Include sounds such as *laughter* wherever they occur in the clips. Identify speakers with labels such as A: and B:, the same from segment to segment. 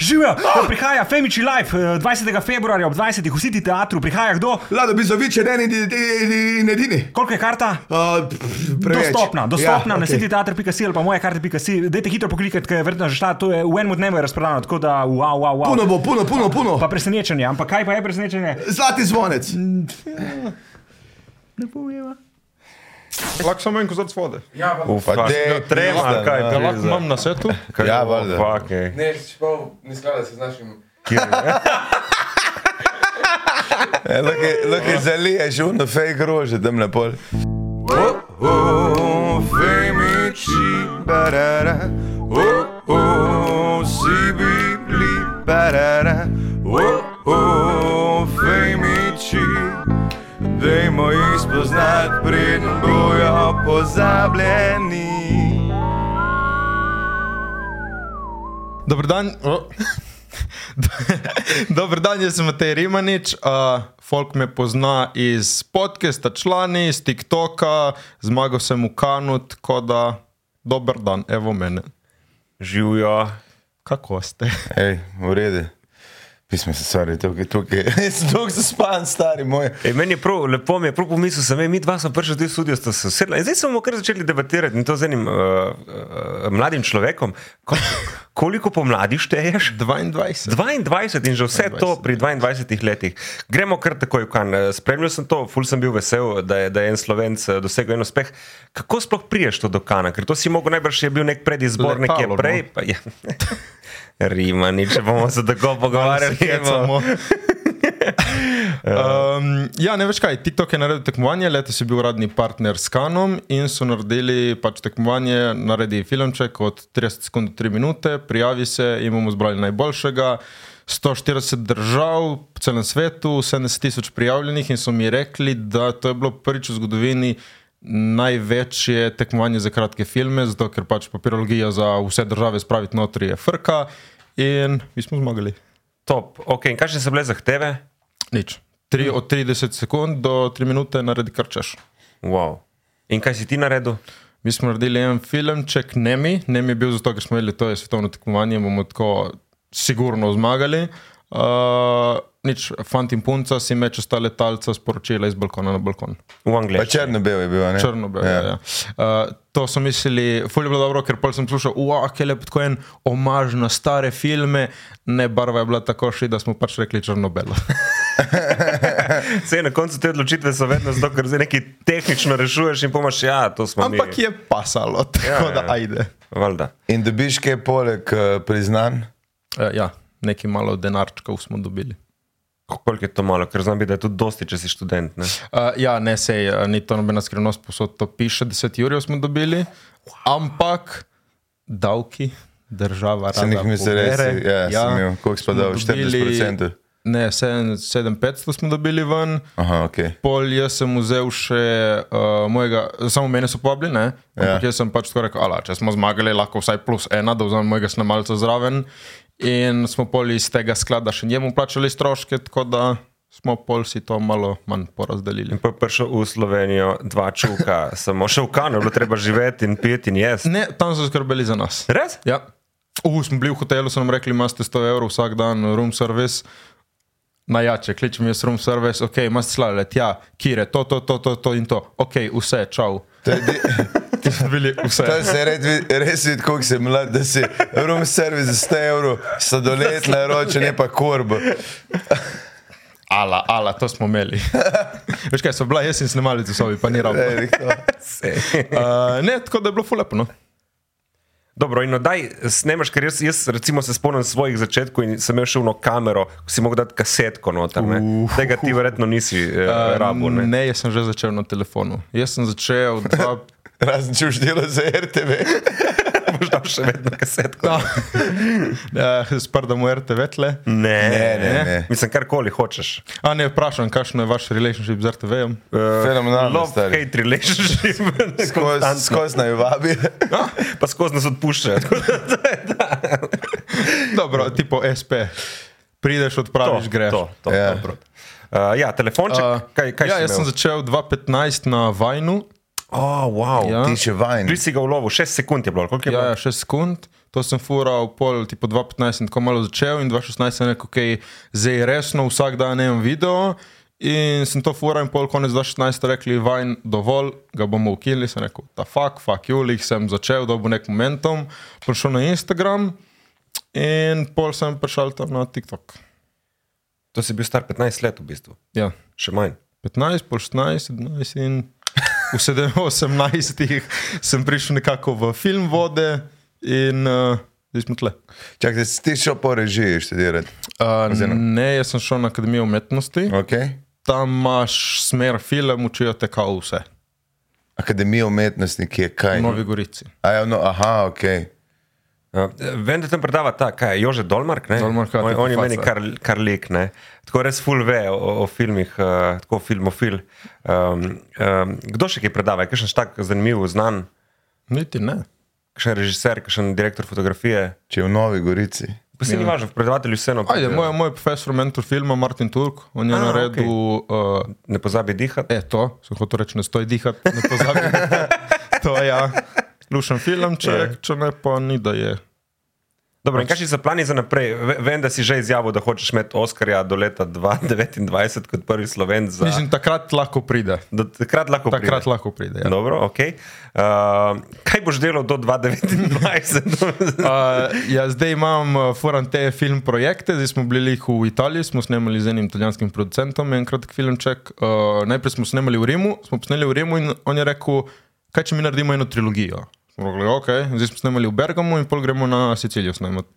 A: Živijo, prihaja Femiči Live eh, 20. februarja ob 20. v City teatru, prihaja kdo?
B: Lado Bizovič je en in- in in edini.
A: Koliko je karta?
B: Uh, pf, preveč.
A: Dostopna, dostopna ja, na
B: okej.
A: cityteater.si ali pa moja karta.si. Dajte hitro poklikati, ker je verjetno že šla, to je v enem dnevu je razprodano, tako da wow, wow, wow.
B: Puno bo, puno, puno,
A: Pa
B: puno.
A: presenečenje, ampak kaj pa je presenečenje?
B: Zlati zvonec.
A: Ne povem.
C: Lahko samo en kozarc vode. pa-
D: Ufa, de,
C: Trema,
D: pizda,
C: kaj,
D: no.
C: da lahko imam na svetu.
D: Ja, valjda.
C: Fakej.
E: Ne, čeprav ne sklada se z našim.
D: E, Lahko lahko zaliješ uno fej grože, tam na pol. Dajmo jih spoznati, preden bojo pozabljeni.
C: Dober dan. O. *laughs* Dober dan, jaz sem Matej Rimanič. Uh, folk me pozna iz podcasta, člani, iz TikToka, zmagal sem v Kanu, tako da dober dan, evo mene.
D: Živijo.
C: Kako ste? *laughs*
D: Ej, v redu. Pismo se, sorry, tukaj, tukaj. *laughs* Tukaj se span, stari
C: E,
D: moj.
F: Ej, meni je prav, lepo mi je prav pomislil, sem, ej, mi dva smo prišli tudi v studio, sta se usedla in zdaj smo kar začeli debatirati in to z enim uh, uh, mladim človekom. Ko, koliko pomladi šteješ?
C: 22.
F: 22 in že vse 22. to pri 22 letih. Gremo kar takoj, kan. Eh, Spremljal sem to, ful sem bil vesel, da je, da je en slovenc eh, dosegel en uspeh. Kako sploh priješ to do Kana? Ker to si mogel najbrž je bil nek predizbor, nekje
C: Letalo, no.
F: prej. Pa, ja. *laughs* Rima, nič, če bomo se tako pogovarjali. bomo-
C: Um, ja, ne veš kaj, TikTok je naredil tekmovanje, letos je bil uradni partner s Kanom in so naredili pač tekmovanje, naredi filmček od 30 sekund do 3 minute, prijavi se in bomo zbrali najboljšega. 140 držav po celem svetu, 70 tisoč prijavljenih in so mi rekli, da to je bilo prvič v zgodovini največje tekmovanje za kratke filme, zato ker pač papirologija za vse države spraviti notri je frka in mi smo zmagali.
F: Top. Ok, in kakšne so bile zahteve?
C: Nič. Tri, od 30 sekund do 3 minute naredi kar češ.
F: Wow. In kaj si ti naredil?
C: Mi smo naredili en filmček Nemi, Nemi je bil zato, ker smo imeli to je svetovno tekmovanje, bomo tako sigurno zmagali. Uh, nič, fant in punca si meče sta letalca sporočila iz balkona na balkon.
F: V
D: Pa
F: angleščini.
D: črno-bel je bil, a ne?
C: Črno-belo. Ja. Ja. Uh, to so mislili, fulje bilo dobro, ker pol sem poslušal, wow, kaj lep tako en omaž na stare filme, ne barva je bila tako še, da smo pač rekli črno-belo.
F: Vse na koncu te odločitve so vedno zato, ker zdaj nekaj tehnično rešuješ in pomaš, ja, to smo
C: Ampak *laughs*
F: mi.
C: je pasalo, tako ja,
F: ja.
C: ja. da ajde.
F: Valjda.
D: In dobiš kaj poleg eh, priznanj?
C: Uh, ja, nekaj malo denarčkov smo dobili.
F: Koliko je to malo, ker znam biti, da je to dosti, če si študent. Ne?
C: Uh, ja, ne sej, eh, ni to nobena skrivnost, posod to piše, 10 jurjev smo dobili, ampak davki, država,
D: Sem jih mislil reči, ja, sem imel. Koliko
C: smo
D: spada v 40%?
C: Ne, 7500 smo dobili ven.
D: Aha, ok.
C: Pol jaz sem vzel še uh, mojega, samo mene so povabili, ne? Ampak
D: Ja.
C: ja. jaz sem pač tako rekel, ala, če smo zmagali, lahko vsaj plus ena, da vzamem mojega snemalca zraven. In smo pol iz tega sklada še njemu plačali stroške, tako da smo pol si to malo manj porazdelili.
F: In pa je prišel v Slovenijo dva čuka, samo še v Kanu, je bilo treba živeti in piti in jesti.
C: Ne, tam so skrbeli za nas.
F: Res?
C: Ja. Uh, smo bili v hotelu, so nam rekli, imate 100 evrov vsak dan, room service. Najjače, kličem jaz room service, ok, imaš slave, tja, kire, to, to, to, to, to in to, ok, vse, čau.
D: To je di-
C: *laughs* Ti smo bili vse.
D: To se res vidi- res vidi, koliko si mlad, da si room service za 100 evrov, sladolet naročen, ne pa korbo.
C: Ala, ala, to smo
D: *laughs*
C: imeli. Veš kaj, so bila jaz in snemali v sobi, pa ni ravno.
D: Ej, to-
C: Uh, ne, tako da je bilo fulepno. No.
F: Dobro, in oddaj snemaš, ker jaz, jaz recimo se spomnim svojih začetkov in sem imel še eno kamero, ko si mogel dati kasetko noter. ne. Tega ti verjetno nisi uh, rabo.
C: Um, ne. ne, jaz sem že začel na telefonu. Jaz sem začel dva,
D: *laughs*
C: *laughs*
D: Razen če už delo za RTV.
F: Boš dal še vedno kasetko.
C: da, uh, sprdam v RTV tle.
D: Mm.
F: Ne,
D: Ne, ne, ne.
F: Mislim, karkoli hočeš.
C: A ne, vprašam, kakšno je vaš relationship z RTV-om?
D: Fenomenalno,
F: Love,
D: stari.
F: hate *laughs* relationship. konstantno. No,
D: Skozi naj vabi.
F: Pa skozi nas odpuščajo. tako da to je da.
C: Dobro, tipo SP. Prideš, odpraviš,
F: To,
C: greš.
F: to, to,
D: Ja.
F: dobro. Uh, ja, telefonček.
C: Uh,
F: Uh, kaj, kaj
C: ja,
F: si
C: jaz sem
F: imel?
C: začel 2015 na Vajnu.
F: Oh, wow.
C: Ja.
D: Ti še vajn.
F: Ti si ga ulovil, 6 sekund je bilo, ali koliko
C: Ja,
F: je bilo?
C: ja, 6 sekund. To sem fural pol, tipo 2015 sem tako malo začel in 2016 sem rekel, ok, zdaj resno vsak dan enem video. In sem to fural in pol konec 2016 rekli, vajn dovolj, ga bomo ukinili. Sem rekel, ta fuck, fuck you, lih sem začel, dobil nek momentum, prišel na Instagram in pol sem prišel tam na TikTok.
F: To si bil star 15 let v bistvu,
C: Ja.
F: še manj.
C: 15, pol 16, 17 in v *laughs* 17, 18 sem prišel nekako v film vode in uh, zdaj smo tle.
D: Čakaj, si ti šel po režiji študirati.
C: Uh,
D: Oziroma-
C: ne, jaz sem šel na Akademijo umetnosti,
B: Ja.
D: Okay.
C: tam imaš smer film, učijo te kao vse,
D: Akademija umetnosti, ki je kaj.
C: v Novi Gorici.
D: A, ja, no, aha, ok.
F: Uh, Vem, da tam predava ta, kaj je Jože Dolmark. ne?
C: Dolmark, ja,
F: on,
C: tako
F: on je
C: faca.
F: meni kar, kar lek, ne? tako res full ve o, o filmih, uh, tako filmofil. Um, um, kdo še kaj predava, je kakšen tak zanimiv, znan,
C: Niti ne.
F: kakšen režiser, kakšen direktor fotografije.
D: Če v Novi Gorici.
F: Pa se ni važno, predavatelju vseeno.
C: Ja. Ajde,
F: pride.
C: moj, moj profesor, mentor filma Martin Turk, on je
F: A,
C: A, naredil. Okay. Uh,
F: Ne pozabi dihati.
C: E, to sem hotel reči, ne stoj dihati, ne pozabi. *laughs* to je ja. lušen film, če, če ne, pa ni da je.
F: Dobro, in kakšni so plani za naprej? Ve- Vem, da si že izjavil, da hočeš imeti Oscarja do leta 2029 kot prvi slovenc. Za...
C: Mislim, takrat lahko pride.
F: Do takrat lahko
C: Takrat
F: pride. No.
C: lahko pride. Ja.
F: Dobro, okay. uh, kaj boš delal do
C: *laughs*
F: 2029?
C: Uh, ja, zdaj imam uh, furan te film projekte, zdaj smo bili jih v Italiji, smo snemali z enim italijanskim producentom en kratek filmček. Uh, najprej smo snemali v Rimu, smo posneli v Rimu in on je rekel, kaj če mi naredimo eno trilogijo. Smo rekli, ok, zdaj smo snemali v Bergamo in pol gremo na Sicilijo snemati.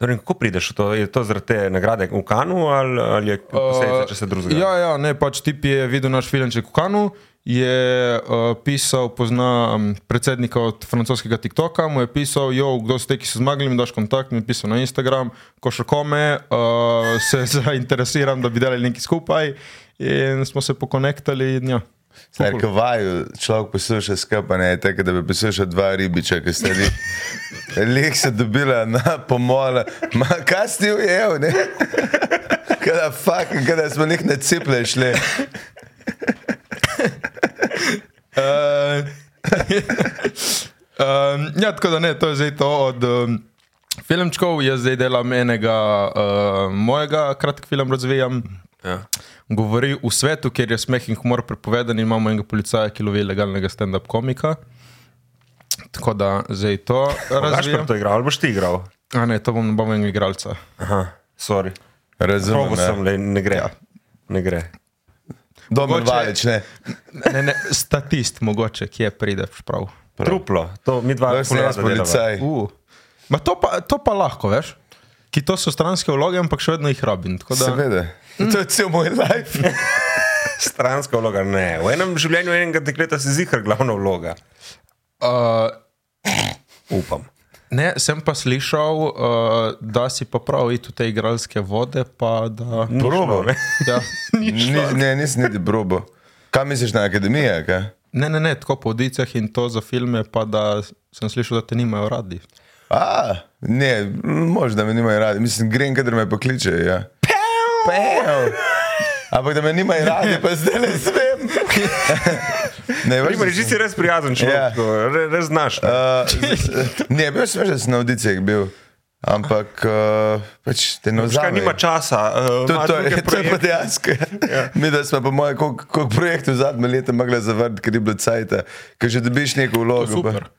F: Torej, kako prideš v to? Je to zaradi te nagrade v Kanu ali, ali je posledica, če se drugega?
C: Eh, Ja, ja, ne, pač tip je videl naš filmček v Kanu, je uh, pisal, pozna um, predsednika od francoskega TikToka, mu je pisal, jo, kdo ste, ki so zmagali, mi daš kontakt, mi je pisal na Instagram, košarkome, uh, se *laughs* zainteresiram, da bi delali nekaj skupaj in smo se pokonektali. in Ja.
D: Zdaj, ko vaju človek posluša skapanje, je tako, da bi poslušal dva ribiča, ki sta li,
F: *laughs*
D: lih se dobila na pomola. Ma, kaj si ti ujel, ne? Kada, fuck, kada smo njih na ciple šli.
C: Uh, *laughs* um, ja, tako da ne, to je zdaj to od um, filmčkov. Jaz zdaj delam enega uh, mojega, kratek film razvijam. Ja. Govori v svetu, kjer je smeh in humor prepovedan, in imamo enega policaja, ki lovi legalnega stand-up komika. Tako da zdaj to
F: Znaš, kako
C: razvijam.
F: to igral, ali boš ti igral?
C: A ne, to bom ne bom enega igralca.
F: Aha, sorry.
D: Razumem.
F: Probo sem,
D: ne?
F: le, ne gre. Ja. Ne gre.
D: Domen
C: Mogoče-
D: Valič, ne.
C: Ne, ne, statist, mogoče, kje prideš prav.
F: Prav. Truplo, to mi dva
D: To sem jaz policaj.
C: Uh. Ma to pa, to pa lahko, veš? Ki to so stranske vloge, ampak še vedno jih rabim. tako da-
D: Seveda.
F: Mm.
D: To je cel moj life.
F: Stranska vloga, ne. V enem življenju enega dekleta si zihar glavna vloga.
C: Uh,
F: Upam.
C: ne, sem pa slišal, uh, da si pa prav iti v te igralske vode, pa da.
F: Probo, ne.
C: *laughs* Ja.
D: Ni, ne, nisem niti brobo. Kaj misliš na akademijo? Kaj?
C: Ne, ne, ne, tako po odicah in to za filme, pa da sem slišal, da te nimajo radi.
D: A, ne, možda me nimajo radi. Mislim, grem, kadar me pokličejo. Ja. Pev! Ampak da me nimajo radi, pa zdaj le svem. Ne, veš,
F: Primo,
D: da
F: reži si
D: sem-
F: res prijazen človek,
D: Ja. Eh,
F: yeah. re, res znaš. ne.
D: Uh, ne, bil sem že na audicijah bil. Ampak uh, pač te ne
F: Zakaj
D: vzamejo.
F: nima časa? Uh,
D: To,
F: ima
D: *laughs* to,
F: druge
D: je, to je pa
F: projekte.
D: dejansko. Ja. Mi, da smo, po mojem, koliko koliko projektov zadnje leta mogli zavrniti, ker je bilo cajt, ker že dobiš neko vlogo.
C: super.
D: Pa,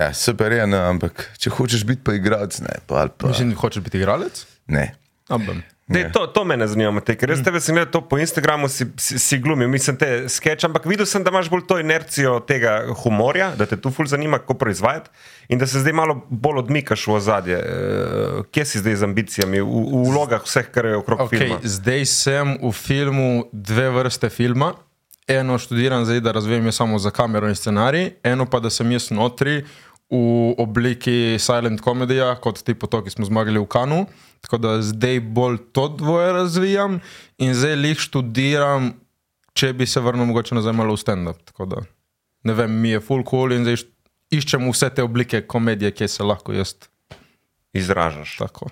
D: ja, super je, no, ampak če hočeš biti pa igralec, ne, pa ali pa.
C: Mislim, hočeš biti igralec?
D: Ne.
C: Ampak.
F: Dej, to, to me ne zanima, Matej, ker res
D: Mm.
F: tebe sem gledal to po Instagramu, si, si, si glumil, mislim te sketch, ampak videl sem, da imaš bolj to inercijo tega humorja, da te tu ful zanima, kako proizvajati in da se zdaj malo bolj odmikaš v ozadje. Eh, Kje si zdaj z ambicijami, v, v vlogah vseh, kar je okrog okay.
C: Okay,
F: filma?
C: zdaj sem v filmu dve vrste filma. Eno študiram zdaj, da razvem jo samo za kamero in scenarij, eno pa da sem jaz notri v obliki silent komedija, kot ti potoki smo zmagali v Kanu. Tako da zdaj bolj to dvoje razvijam in zdaj jih študiram, če bi se vrnil mogoče nazaj malo v stand-up. Tako da ne vem, mi je full cool in zdaj št- iščem vse te oblike komedije, kjer se lahko jaz
F: Izražaš.
C: tako.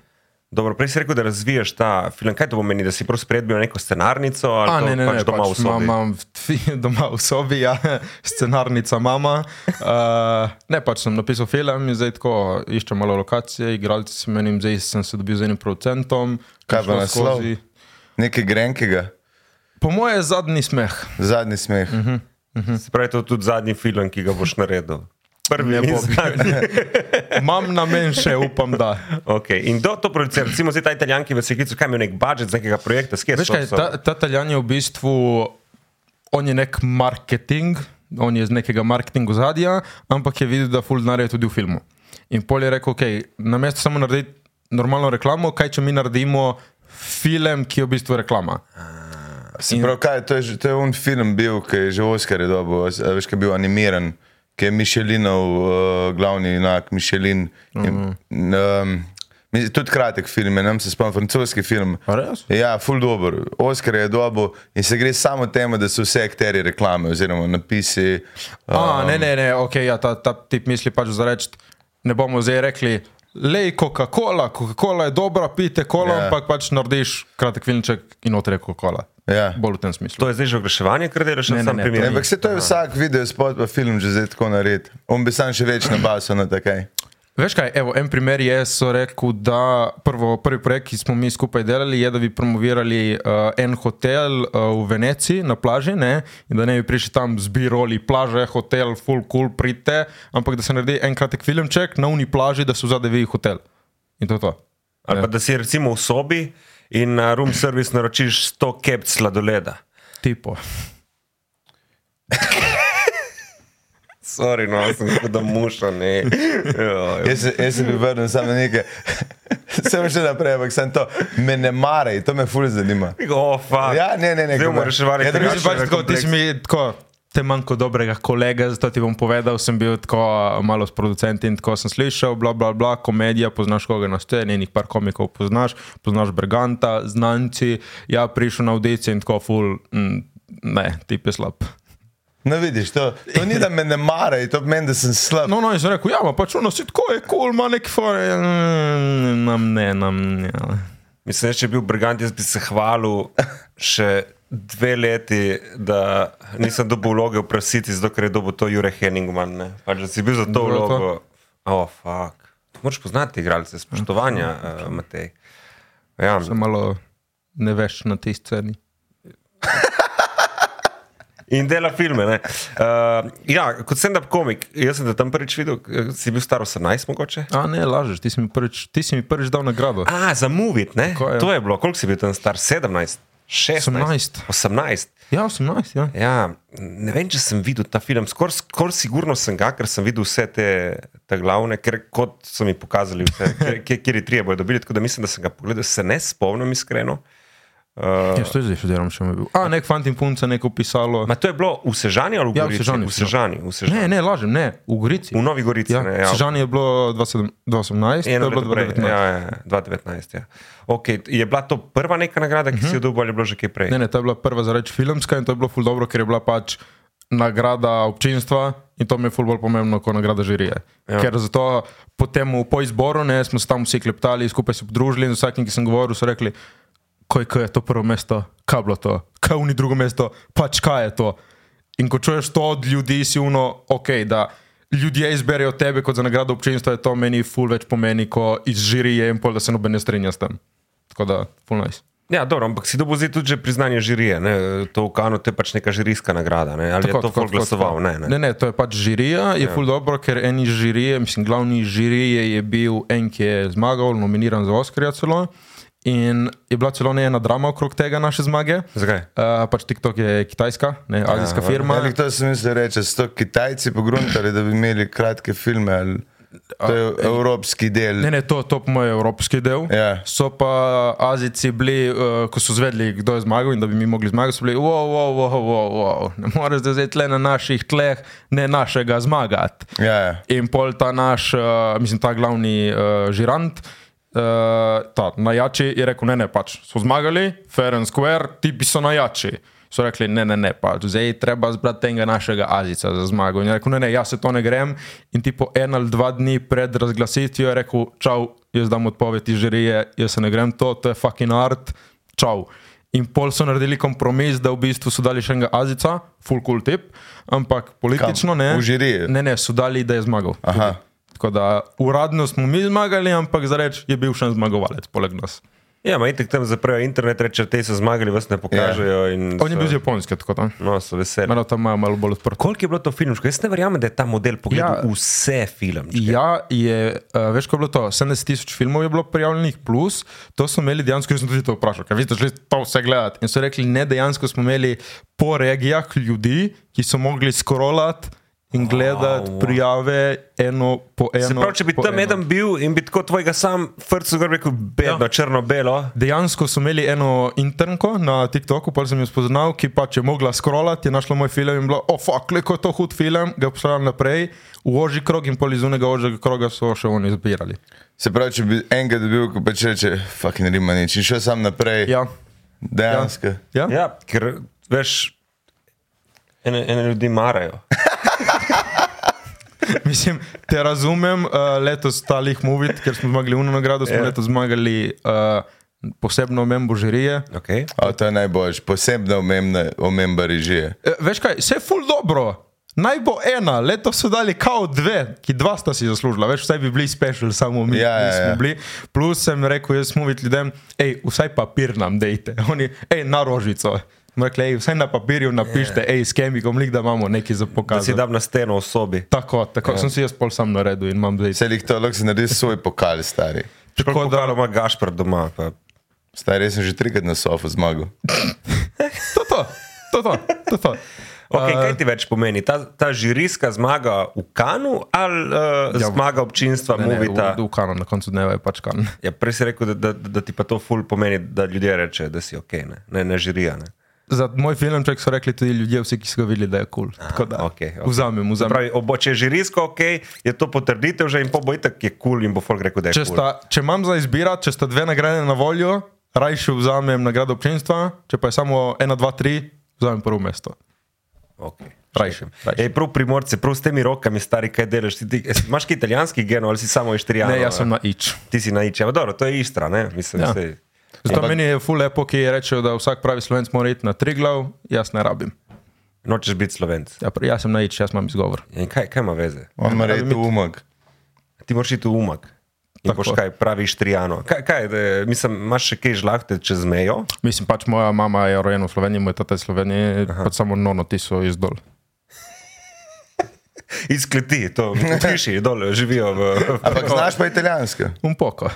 F: Dobro, prej si rekel, da razvijaš ta film. Kaj to pomeni, da si prosto predbil neko scenarnico ali
C: A,
F: to
C: ne, ne,
F: pač
C: ne,
F: doma v sobi?
C: Imam *laughs* doma v sobi, ja, *laughs* scenarnica mama. Uh, ne, pač sem napisal film in zdaj tako iščem malo lokacije, igralci si menim, zdaj sem se dobil z enim producentom. ki
D: Kaj pa
C: šlo
D: naslov?
C: skozi.
D: Nekaj grenkega,
C: Po moje je zadnji smeh.
D: zadnji smeh.
F: Se pravi, to je tudi zadnji film, ki ga boš naredil. Prvi
C: Ne
F: in
C: bo. *laughs*
F: zadnji.
C: Imam namen še, upam, da.
F: Okay. In kdo to producira? Recimo, zdaj ta italijan, ki je v Seklicu, kaj je nek budžet z nekega projekta, skje
C: Veš kaj, ta, ta Italijan je v bistvu, on je nek marketing, on je z nekega marketinga zadja, ampak je videl, da ful denarja je tudi v filmu. In pol je rekel, ok, namesto samo narediti normalno reklamo, kaj če mi naredimo film, ki je v bistvu reklama.
D: Se pravi, kaj, je- to, je, že- to je un film bil, ki je že Oscar je dobil, a- a veš, ki je bil animiran, ki je Mišelinov uh, glavni junak, Mišelin. Mm
C: Mhm.
D: -hmm. in, um, mi- Tudi kratek film, je, nam se spomnim, francoski film.
C: A res?
D: Ja, full dobro. Oscar je dobil in se gre samo temu, da so vse akteri reklame oziroma napisi.
C: A, ne, ne, ne, ok, ja, ta, ta tip misli pač za reči, ne bomo zdaj rekli. Lej Coca-Cola, Coca-Cola je dobra, pite kolo,
D: Ja.
C: yeah. ampak pač narediš kratek filmček in otre Coca-Cola.
D: Ja.
C: Bolj v tem smislu.
F: To je zdaj že oglaševanje, ker delaš
C: Ne,
F: na
C: ne,
F: sam
C: ne,
F: primer.
D: Ne, Ampak se to je vsak video, spod pa film že zdaj tako nared. On bi sam še več nabasil na no, takaj.
C: Veš kaj, evo, en primer je, so rekel, da prvo, prvi projekt, ki smo mi skupaj delali, je, da bi promovirali uh, en hotel uh, v Veneciji na plaži, ne? in da ne bi prišli tam zbirali plaže, hotel, full cool, pridite, ampak da se naredi en kratek filmček na uni plaži, da so zadevi hotel. In to je to.
F: Ali pa da si recimo v sobi in na room service naročiš 100 kep sladoleda.
C: Tipo.
F: Sorry, no, sem kot da muša,
C: *laughs*
F: ne.
D: Jaz, se- jaz se bi vrnil samo na nekaj, *laughs* sem še naprej, ampak sem to, me ne maraj, to me ful zanima.
F: O, fuck.
D: Ja, ne, ne, ne,
F: Zdaj bomo
D: kdo-
F: reševali
D: Ja,
F: tega.
D: drugače
C: Pač tako, ti si mi tako. Te manj kot dobrega kolega, zato ti bom povedal, sem bil tako a, malo s producenti in tako sem slišal, bla, bla, bla, komedija, poznaš koga na sceni, enih par komikov poznaš, poznaš Berganta, znanci, ja, prišel na audicijo in tako ful, mm, ne, ti je slab.
D: No, vidiš, to, to ni, da me ne maraj, to pomeni, da sem slab.
C: No, no, in sem rekel, ja, ma pač ono si tako je, kul, cool, ima neki fore, mm, nam ne, nam ne.
F: Mislim, da če bi bil Brigant, jaz bi se hvalil še dve leti, da nisem dobil vloge v Prasiti, zato ker je dobil to Jure Henningman. ne. Pač, da si bil za to
C: Dobro, to.
F: vlogo. O, oh, fuck. Moraš poznati igralce, spoštovanja,
C: Hm,
F: uh, Matej. Ja,
C: Sem malo ne veš na tej sceni.
F: in dela filme. ne. Uh, ja, kot stand-up komik, jaz sem te tam prvič videl, eh, si bil star 18 mogoče.
C: A ne, lažeš, ti si mi prvič, ti si mi prvič dal nagrado.
F: A, za muvit, ne?
C: Tako je.
F: To je bilo, koliko si bil tam star? 17, 16,
C: 18.
F: 18.
C: Ja, 18, ja.
F: Ja, ne vem, če sem videl ta film, skoraj skor sigurno sem ga, ker sem videl vse te, te glavne, ker kot so mi
C: *laughs*
F: pokazali, vse, kje, kje, kje je trije bojo dobili. Tako da mislim, da sem ga pogledal, se ne spomnim iskreno.
C: Ja, to je zdaj še delam, če me bil. A, nek fant in punca, neko pisalo.
F: Ja. Ma to je bilo v Sežani ali v
C: Ja, v
F: Gorici?
C: Sežani,
F: v
C: v Sežani.
F: Sežani. V, Sežani.
C: Ne, ne, lažem, ne, v Gorici.
F: v Novi Gorici.
C: Ja,
F: ne, ja.
C: Sežan je bilo 27 2018, to
F: Eno
C: je bilo
F: leto prej,
C: 2019.
F: ja, ja, 2019. Ja. Okay, je bila to prva neka nagrada, ki uh -huh. si jo dobil, ali je bilo že kaj prej?
C: Mhm. Ne, ne, to je bila prva za reč filmska in to je bilo ful dobro, ker je bila pač nagrada občinstva in to mi je ful bolj pomembno kot nagrada žirije. Ja. Ker zato potem po izboru ne, smo se tam vsi kleptali, skupaj se podružili in z vsakim, ki sem govoril, so rekli, kaj, kaj je to prvo mesto, kaj je bilo to, kaj je ni drugo mesto, pač kaj je to. In ko čuješ to od ljudi, si uno, ok, da ljudje izberejo tebe kot za nagrado občinstva, je to meni ful več pomeni, kot iz žirije in pol, da se noben ne strinja s tem. Tako da, ful najs. Nice.
F: Ja, dobro, ampak si dobil zdaj tudi že priznanje žirije. Ne? To v Kanu to je pač neka žirijska nagrada. Ne? Ali tako, je to folk glasoval? Ne, ne.
C: ne, ne, to je pač žirija, je ja. ful dobro, ker en iz žirije, mislim, glavni žirije je bil en, ki je zmagal, nominiran za Oscarja celo. In je bila celo ne ena drama okrog tega naše zmage.
F: Zakaj?
C: Uh, pač TikTok je kitajska, ne, azijska ja, firma.
D: Ali to sem mislil reči, so to Kitajci pogruntali, da bi imeli kratke filme, ali to je evropski del.
C: e- Ne, ne, to, to po mojem je evropski del.
D: Ja.
C: So pa Azijci bili, uh, ko so zvedeli, kdo je zmagal in da bi mi mogli zmagati, so bili, wow, wow, wow, wow, wow. ne moreš zdaj zdaj tle na naših tleh, ne našega zmagati.
D: Ja, ja.
C: In pol ta naš, uh, mislim, ta glavni uh, žirant, uh, ta najjači, je rekel: ne, ne, pač so zmagali, fair and square, ti bi so najjači. So rekli, ne, ne, ne, pač zdaj je treba zbrati tega našega Azica za zmago. In je rekel, ne, ne, jaz se to ne grem. In tipo en ali dva dni pred razglasitvijo je rekel, čau, jaz dam odpoved iz žirije, jaz se ne grem to, to je fucking art, čau. In pol so naredili kompromis, da v bistvu so dali še enega Azica, full cool tip, ampak politično ne.
D: V žiriji?
C: Ne, ne, so dali, da je zmagal.
D: Aha.
C: Tako da uradno smo mi zmagali, ampak za reč je bil še en zmagovalec, poleg nas.
F: Ja, ma itek tam zaprejo internet, reče, te so zmagali, vas
C: Ja.
F: ne pokažejo. in
C: On je
F: so-
C: bil iz Japonske, tako da.
F: No, so veseli.
C: Mano tam imajo malo bolj odprto.
F: Koliko je bilo to filmčko? Jaz ne verjamem, da je ta model pogledal ja.
C: Ja.
F: vse filmčke.
C: Ja, je, uh, veš, ko je bilo to, 70 tisoč filmov je bilo prijavljenih, plus to smo imeli dejansko, jaz sem tudi to vprašal, kaj vi ste šli to vse gledati. In so rekli, ne, dejansko smo imeli po regijah ljudi, ki so mogli skrolati in gledati wow, prijave eno po eno.
F: Se pravi, če bi
C: no, po
F: tam
C: eno.
F: eden bil in bi tako tvojega sam frcu gor rekel, bedno, ja. črno-belo.
C: Dejansko so imeli eno internko na TikToku, pa sem jo spoznal, ki pač je mogla skrolati, je našla moj film in bila, o, oh, fuck, kako je to hud film, ga poslala naprej, v oži krog in pol iz unega ožjega kroga so še oni zbirali.
D: Se pravi, če bi enkrat dobil, ko pač reče, fucking rima nič in šel sam naprej.
C: Ja,
D: Dejansko.
C: ja. ja.
F: Ja, ker veš, ene, ene ljudi marajo.
C: *laughs* mislim, te razumem, uh, letos talih movit, ker smo zmagali uno nagrado, smo letos zmagali uh, posebno membo žirije.
F: Okay.
D: A to je najboljš, posebna omembna- omemba režije.
C: E, veš kaj, vse je ful dobro. Naj bo ena, letos so dali kao dve, ki dva sta si zaslužila, veš, vsaj bi bili special, samo mi
D: Ja,
C: ja,
D: ja,
C: nismo
D: ja.
C: ja. bili. Plus sem rekel, jaz smo videli ljudem, hej, vsaj papir nam dejte, *laughs* oni, hej, na rožico. Smo Rekli, hej, vsaj na papirju napišite, hej, yeah. s kemikom, lik, da imamo nekaj za
F: Ja. Da si
C: pokazati. Da...
F: dam na steno v sobi.
C: Tako, tako ja. sem si jaz pol sam naredil in imam zdaj
D: Vse jih to lahko si naredi svoj pokal, stari.
F: Tako
C: Tako
F: da
C: da-
F: ima Gašpr doma. Pa.
D: Stari, jaz sem že trikrat na sofu zmagal.
C: to, to, to, to, to, to. Eh.
F: Okay, kaj ti več pomeni? Ta, ta žirijska zmaga v Kanu ali uh,
C: Ja,
F: ja, zmaga občinstva,
C: Ne, ne,
F: *laughs* Movita?
C: v, v kanon, na koncu dneva je pač kanon.
F: Ja, prej si rekel, da, da, da ti pa to ful pomeni, da ljudje rečejo, da si ok, ne, ne, ne žirija. Ne.
C: Za moj filmček so rekli tudi ljudje, vsi, ki so ga videli, da je kul. Cool. Tako da,
F: okej, okej.
C: Vzamem,
F: Se
C: vzamem.
F: Pravi, obo, če je žirijsko ok, je to potrditev že in po boju tako je kul cool in bo folk rekel, da je
C: Če,
F: cool.
C: sta, če imam za izbirati, če sta dve nagrade na voljo, rajši vzamem nagrado občinstva, če pa je samo ena, dva, tri, vzamem prvo mesto.
F: Okay.
C: Rajši, rajši.
F: Ej, prav primorce, prav s temi rokami, stari, kaj delaš? Ti, ti, es- imaš kaj italijanski gen ali si samo ištrijan?
C: Ne, jaz sem na ič.
F: Ti si naič, ampak dobro, to je Istra, ne? Mislim,
C: Ja.
F: ja. sej,
C: Zato Ampak... meni je ful lepo, ki rečejo, da vsak pravi slovenc mora iti na tri glav, jaz ne rabim.
F: nočeš biti slovenc.
C: Ja, pr- jaz sem na ič, jaz imam izgovor.
F: In kaj, kaj ima veze?
D: On mora iti v umak.
F: Ti moraš iti v umak. In
C: Tako.
F: boš kaj pravi Štrijano. Kaj, kaj, da- mislim, imaš še kaj žlahte čez mejo?
C: Mislim pač moja mama je rojena v Sloveniji, moj tata je iz Slovenije, pač samo nono ti so izdol.
F: Iz kleti,
C: *laughs*
F: to piši, dol živijo v.
D: Ampak znaš pa italijansko.
C: Un poko.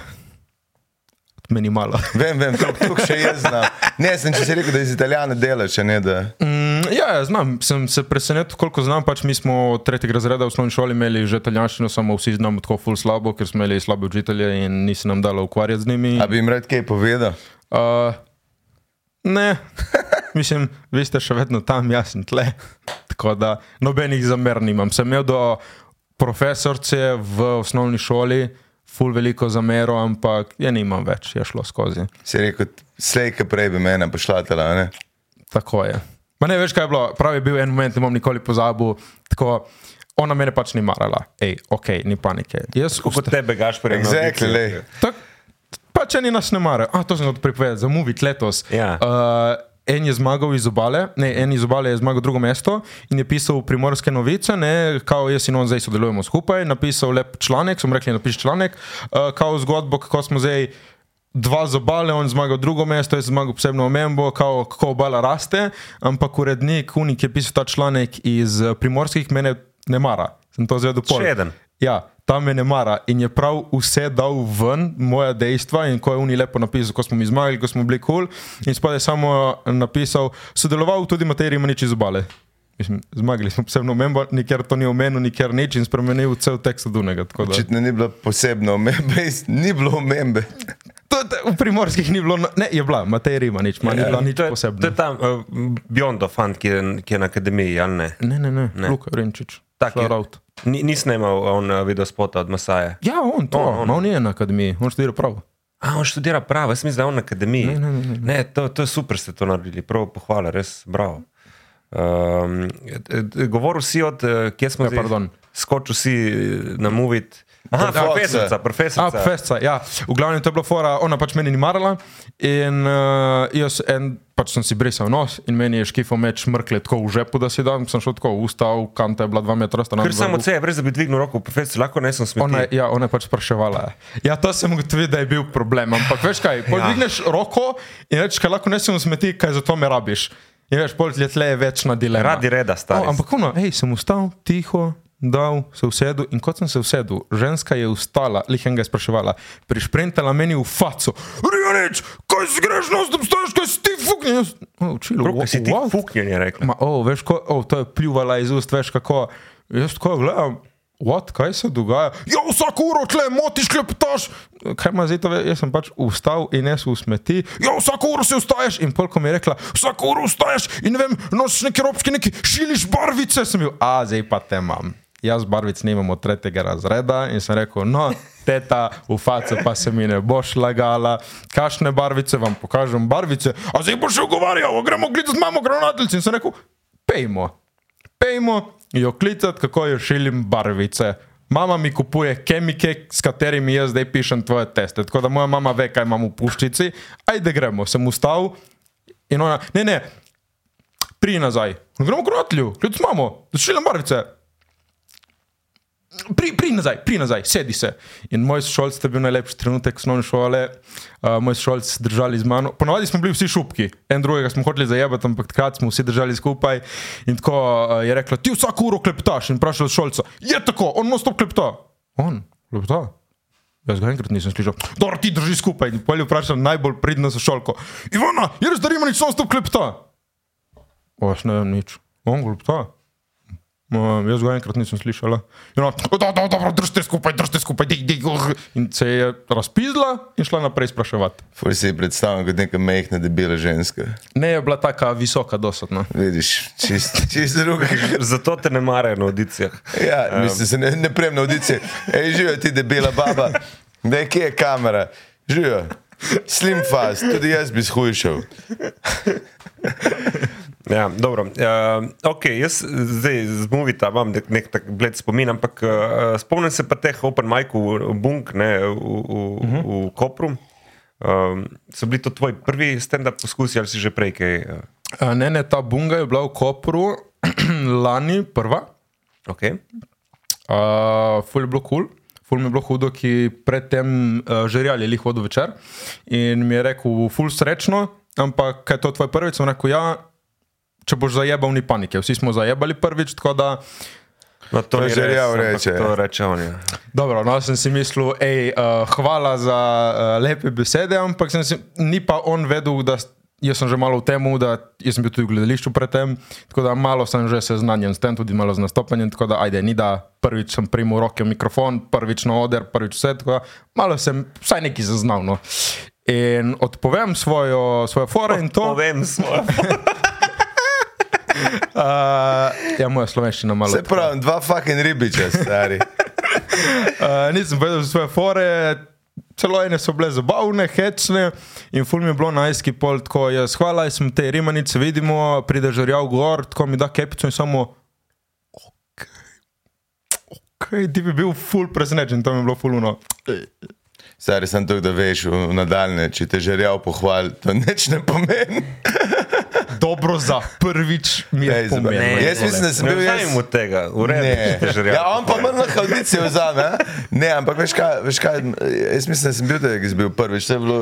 C: Meni malo.
D: Vem, vem, to še jaz znam. Ne, sem če si rekel, da iz Italijana delaš, če ne da.
C: Mm, Ja, ja, znam, sem se presenetil, koliko znam. Pač mi smo od tretjega razreda v osnovni šoli imeli že italijanščino, samo vsi znamo tako ful slabo, ker smo imeli slabe učitelje in nisi nam dalo ukvarjati z njimi.
D: A bi jim rad kaj povedal?
C: Uh, ne, *laughs* mislim, vi ste še vedno tam, jaz sem tle. Tako da nobenih zamer nimam. Sem imel do profesorice v osnovni šoli, ful veliko zamero, ampak je nimam več, je šlo skozi.
D: Si rekel, slejka prej bi mene pošlatala, ne?
C: Tako je. Ma ne veš, kaj je bilo. Prav je bil en moment, ne bom nikoli pozabil. Tako, ona mene pač ni marala, hej, ok, ni panike. Jaz
F: Kot
C: vsta-
F: tebe, Gašpor, je imel
D: Exactly,
F: Dixie.
D: lej.
C: Tako, pač eni nas ne marajo. A, to sem hotel pripovedati, za Movit letos.
F: Ja.
C: Uh, En je zmagal iz obale, ne, en iz obale je zmagal drugo mesto in je pisal primorske novice, ne, kao jaz in on zdaj sodelujemo skupaj. Napisal lep članek, sem rekel, napiši članek, uh, kao zgodbo, kako smo zdaj dva z obale, on zmagal drugo mesto, jaz zmagal posebno omembo, kao, kako obala raste, ampak urednik Unik je pisal ta članek iz eh, primorskih, mene ne mara, sem to zvedel pol.
F: Še eden.
C: Ja, ta me ne mara in je prav vse dal ven, moja dejstva in ko je Uni lepo napisal, ko smo mi zmagali, ko smo bili kul, cool, in spada je samo eh, napisal, sodeloval tudi Matej Rimanič iz obale. Mislim, zmagali smo posebno omembo, nikjer to ni omenil, nikjer nič in spremenil cel tekst od unega. tako da-
D: Očitno ni bilo posebno omembe, *laughs* ni bilo omembe.
C: To, to, v primorskih ni bilo, no- ne, je bila, Matej Rimanič, ma, ni bila Ja. nič
F: Ja, To je, to
C: posebnega.
F: je ta uh, Biondo fant, ki je, ki je na akademiji, ali ne?
C: Ne, ne, ne, ne. Luka Renčič.
F: Tak je.
C: Shoutout.
F: Ni, ni snimal on uh, video spota od Masaja.
C: Ja, on to, on, on. on je na akademiji, on študira pravo.
F: A, on študira pravo, jaz mislim, da je on na akademiji.
C: Ne, ne, ne, ne.
F: ne to, to je super, ste to naredili, prav pohvala, res bravo. Um, govoril si od, eh, kje smo
C: Ja,
F: zdaj?
C: pardon.
F: Skočil si eh, na Movit, Aha,
D: Foxa.
F: profesorica,
C: A,
F: profesorica.
C: festa, ja. V glavnem to je bila fora, ona pač meni ni marala. In uh, jaz en, pač sem si brisal nos in meni je škifo meč mrkle tako v žepu, da si dam, sem šel tako, ustal, kanta je bila dva metra stran.
F: Ker samo C, brez da bi dvignil roko, profesor, lahko ne sem smel.
C: Ona, je- ja, ona je pač spraševala. Ja, to sem ugotovil, da je bil problem. Ampak veš kaj, podvigneš ja. roko in rečeš, kaj lahko nesem smeti, kaj za to me rabiš. In veš, pol letle je večna dilema.
F: Radi reda, stari.
C: O, No, ampak ono, hej, sem ustal, tiho, dal, se usedel in kot sem se usedel, ženska je vstala, lihenga je spraševala, prišprintala meni v faco. Rjonič, kaj si greš, no, tam stojiš, kaj si ti fuknjen? Jaz, "No, "O, Učilo,
F: Roko si ti
C: what?"
F: fuknjen, je rekla.
C: Ma, o, veš, ko, o, to je pljuvala iz ust, veš kako. Jaz tako gledam, what, kaj se dogaja. Ja, vsako uro tle motiš, klepetaš. Kaj ima zdaj to, ve- jaz sem pač vstal in jaz v smeti. Ja, vsako uro se vstaješ in polko mi je rekla, vsako uro vstaješ in ne vem, nosiš neki robski, neki šiliš barvice. Sem bil, a zdaj pa te imam. Jaz barvic nimam od tretjega razreda in sem rekel, no, teta, v face pa se mi ne boš lagala, kašne barvice vam pokažem, barvice, a zdaj boš ogovarjal, gremo gledati z mamo granateljci in sem rekel, pejmo, pejmo jo klicati, kako jo šilim barvice. Mama mi kupuje kemike, s katerimi jaz zdaj pišem tvoje teste, tako da moja mama ve, kaj imam v puščici. Ajde gremo, sem ustal in ona, ne, ne, pri nazaj. Gremo k rotlju, klicati mamo, šilim barvice. Pri, pri nazaj, pri nazaj, sedi se. In moj šolc je bil najlepši trenutek osnovne šole, uh, moj šolc držali z mano. Ponovadi smo bili vsi šupki, en drugega smo hoteli zajabati, ampak takrat smo vsi držali skupaj. In tako uh, je rekla, ti vsako uro klepetaš in vprašal šolca, je tako, on no stop klepeta. On, klepeta. Jaz ga enkrat nisem slišal. Dobro, ti drži skupaj. In polje vprašal najbolj pridno sošolko. Ivana, je res, da ima nič, on stop klepeta. O, jaz ne vem nič. On klepeta. Um, jaz ga enkrat nisem slišala. In ona, "Da, da, dobro, držite skupaj, držite skupaj, dig, dig, uh." in se je razpizla in šla naprej spraševati.
D: Ful si ji predstavljam kot neka mehna, debela ženska.
C: Ne je bila tako visoka, no. dosadna.
D: Vidiš, čist, čist druga.
F: Zato te ne marajo na audicijah.
D: Ja, mislim, se ne, ne prem na audicije. Ej, živijo ti debela baba, da je kje je kamera, živijo. Slim fast, tudi jaz bi shujšal.
F: Ja, dobro. Uh, okay, jaz eh, zdaj z Movita imam nek, nek tak bled spomin, ampak uh, spomnim se pa teh Open Micov, Bunk, ne, v, v, uh
D: Mhm.
F: -huh. v Kopru. Um, so bili to tvoji prvi stand-up poskusi ali si že prej kaj? eh,
C: A Ne, ne, ta bunga je bila v Kopru *clears throat* lani prva.
F: Okay.
C: Uh, ful je bilo kul, cool. ful mi je bilo hudo, ki predtem uh, žerjal je lih hodil večer. In mi je rekel, ful srečno, ampak kaj je to tvoj prvič? Sem rekel, ja, če boš zajebal, ni panike. Vsi smo zajebali prvič, tako da
F: No, to ni
D: Žerjav
F: res, ampak
D: reče.
F: To reče on. Ja.
C: Dobro, no, sem si mislil, ej, uh, hvala za uh, lepe besede, ampak sem si, ni pa on vedel, da s- jaz sem že malo v tem, da jaz sem bil tudi v gledališču predtem, tako da malo sem že seznanjen s tem, tudi malo z nastopanjem, tako da ajde, ni da prvič sem primil v roke mikrofon, prvič na oder, prvič vse, tako da malo sem vsaj neki zaznal. No. In odpovem svojo, svojo foro in to.
F: Povem svoje.
C: Uh, ja, moja slovenščina malo.
D: Se pravi, dva fucking ribiča,
F: *laughs*
D: stari.
C: Uh, nisem vedel za svoje fore, celo ene so bile zabavne, hecne in ful mi je bilo na iski pol tako, jaz hvala, jaz sem te rimanice, vidimo, pride žarjav gor, tako mi da kepico in samo. Kaj ti bi bil ful presenečen, to mi je bilo fuluno.
D: Stari sem tu, da veš, v- v nadaljne, če te žerjav pohval, to nič ne pomeni.
C: Dobro za prvič mi
D: Ej,
C: je
D: zdaj-
C: pomembno.
D: Jaz mislim, da sem
F: Ne
D: bil jaz.
F: vem od tega, urejam.
D: Ja, on pa mrna kavdice vzame. a? Ne, ampak veš kaj, veš kaj, jaz mislim, da sem bil tega, ki sem bil prvič. To je Bilo,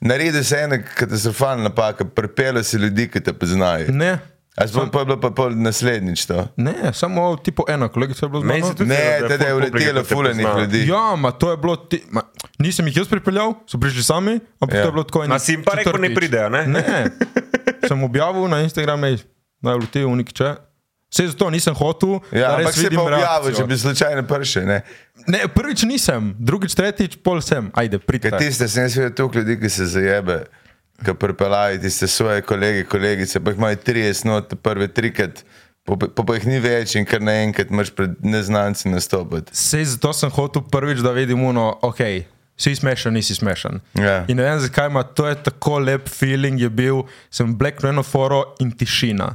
D: naredil si ena katastrofalna napaka, prepelo si ljudi, ki te poznajo.
C: Ne,
D: A sploh pa je bilo pa pol naslednjič to.
C: ne, samo tipo ena, kolegica je bila
F: Meni se
C: zmena.
F: tudi zdi,
D: Ne, teda je
F: ful publike,
D: uletelo
F: ki te
D: fulanih
F: pozna.
D: ljudi.
C: Ja, ma to je bilo, ti, ma, nisem jih jaz pripeljal, so prišli sami, ampak
D: Ja.
C: ja. to je bilo tako eno.
F: Ma si jim pa rekel, ne pridejo, ne?
C: Ne, sem objavil na Instagramu, naj letijo v nikče. Vse zato nisem hotel.
D: Ja,
C: da res
D: ampak se je pa
C: vidim
D: objavil,
C: reakcijo.
D: če bi slučajno pršel. ne.
C: Ne, prvič nisem, drugič, tretjič, pol sem. Ajde,
D: Ker
C: pridite.
D: tiste, sem jaz videl toliko ljudi, ki se zajebe, ki pripeljajo tiste svoje kolege, kolegice, pa jih imajo 30, no, te prve trikrat, po, po, pa jih ni več in kar naenkrat moraš pred neznanci nastopiti.
C: Vse zato sem hotel prvič, da vidim, no, ok, si smešen, nisi smešen.
D: Ja.
C: In ne vem, zakaj ima to je tako lep feeling, je bil, sem black na eno foro in tišina.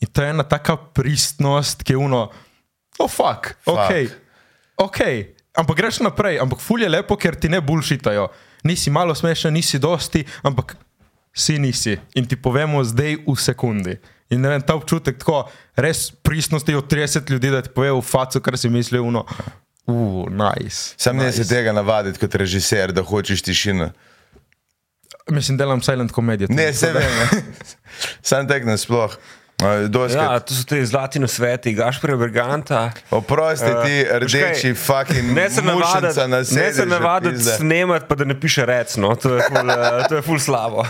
C: In to je ena taka pristnost, ki je uno, oh, fuck, fuck. ok. Ok, ampak greš naprej, ampak ful je lepo, ker ti ne bulšitajo. Nisi malo smešen, nisi dosti, ampak si nisi. In ti povemo zdaj v sekundi. In ne vem, ta občutek tako res pristnosti od 30 ljudi, da ti povejo v facu, kar si mislijo, no, uh, nice.
D: Sam ne se tega navaditi kot režiser, da hočeš tišino.
C: Mislim, delam silent komedijo.
F: *laughs*
D: Ne, se vem. Sam tek nasploh. Eh, doskrat.
F: Ja, to so ti zlati nasveti, Gašprej Berganta.
D: Oprosti ti,
F: Eh,
D: rdeči,
F: veš kaj,
D: fucking
F: Ne se
D: mušenca na
F: navaditi, ne se
D: sedežu,
F: navaditi
D: pizda.
F: snemati, pa da ne piše recno. To je ful, eh, to je ful slabo.